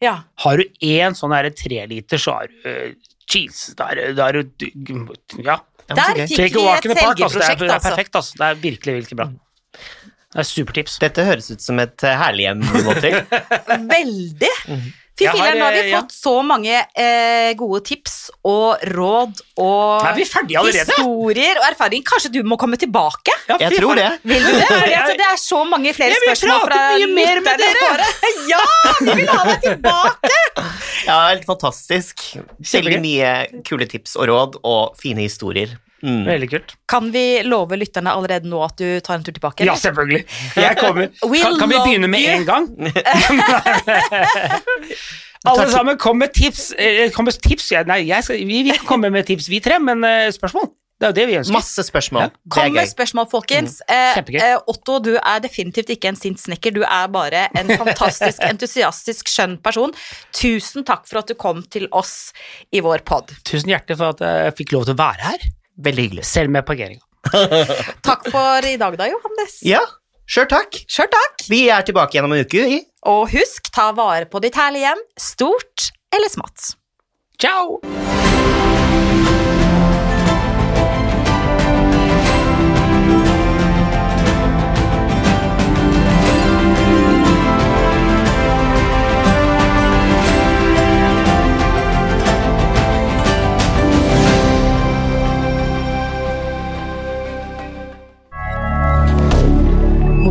[SPEAKER 1] Ja.
[SPEAKER 3] Har du én sånn her treliter, så har du øh, Jeez, da er du- da er du Ja.
[SPEAKER 2] Ja, men så
[SPEAKER 1] Der
[SPEAKER 2] gøy.
[SPEAKER 1] fikk
[SPEAKER 3] Take a
[SPEAKER 1] vi
[SPEAKER 3] walk
[SPEAKER 1] et
[SPEAKER 3] in the park, altså. Det er,
[SPEAKER 1] selgeprosjekt,
[SPEAKER 3] det er
[SPEAKER 1] altså.
[SPEAKER 3] perfekt, altså. Det er virkelig, virkelig bra. Det er supertips.
[SPEAKER 2] Dette høres ut som et eh, herlig hjem du må til.
[SPEAKER 1] Veldig. Fy
[SPEAKER 3] Mhm. Jeg har,
[SPEAKER 1] filler'n, nå har vi
[SPEAKER 3] eh, ja.
[SPEAKER 1] fått så mange eh, gode tips og råd og
[SPEAKER 3] Er vi ferdige allerede?
[SPEAKER 1] historier og erfaring. Kanskje du må komme tilbake?
[SPEAKER 3] Ja, fy
[SPEAKER 2] Jeg tror
[SPEAKER 3] faen.
[SPEAKER 2] det.
[SPEAKER 1] Vil du det? Fordi at det er så mange flere
[SPEAKER 3] Jeg vil
[SPEAKER 1] spørsmål
[SPEAKER 3] prate
[SPEAKER 1] fra
[SPEAKER 3] mye mer med
[SPEAKER 1] lytterne
[SPEAKER 3] dere.
[SPEAKER 1] våre. Ja, vi vil ha deg tilbake!
[SPEAKER 2] Ja, helt fantastisk. Veldig mye kule tips og råd og fine historier. Mm.
[SPEAKER 3] Veldig kult.
[SPEAKER 1] Kan vi love lytterne allerede nå at du tar en tur tilbake?
[SPEAKER 3] Ja, selvfølgelig. Jeg kommer.
[SPEAKER 1] We
[SPEAKER 3] Kan, kan vi
[SPEAKER 1] love
[SPEAKER 3] begynne med
[SPEAKER 1] you.
[SPEAKER 3] en gang? Alle sammen, kom med tips. Eh, Kom med tips. Ja, Nei, jeg skal, vi, vi kan komme med tips, vi tre, men eh, spørsmål? Det er jo det vi ønsker.
[SPEAKER 2] Masse spørsmål. Det
[SPEAKER 1] Kom
[SPEAKER 2] er
[SPEAKER 1] med
[SPEAKER 2] gøy. Mm.
[SPEAKER 1] spørsmål, folkens. Eh,
[SPEAKER 3] Kjempegøy.
[SPEAKER 1] eh, Otto, du er definitivt ikke en sint snekker. Du er bare en fantastisk, entusiastisk, skjønn person. Tusen takk for at du kom til oss i vår pod.
[SPEAKER 3] Tusen hjertelig for at eh, jeg fikk lov til å være her,
[SPEAKER 2] Veldig hyggelig.
[SPEAKER 3] selv med parkeringa.
[SPEAKER 1] Takk for i dag, da, Johannes.
[SPEAKER 2] Ja, sjøl takk.
[SPEAKER 1] Sjøl takk.
[SPEAKER 2] Vi er tilbake gjennom en uke i
[SPEAKER 1] Og husk, ta vare på ditt herlige hjem, stort eller smått.
[SPEAKER 3] Ciao!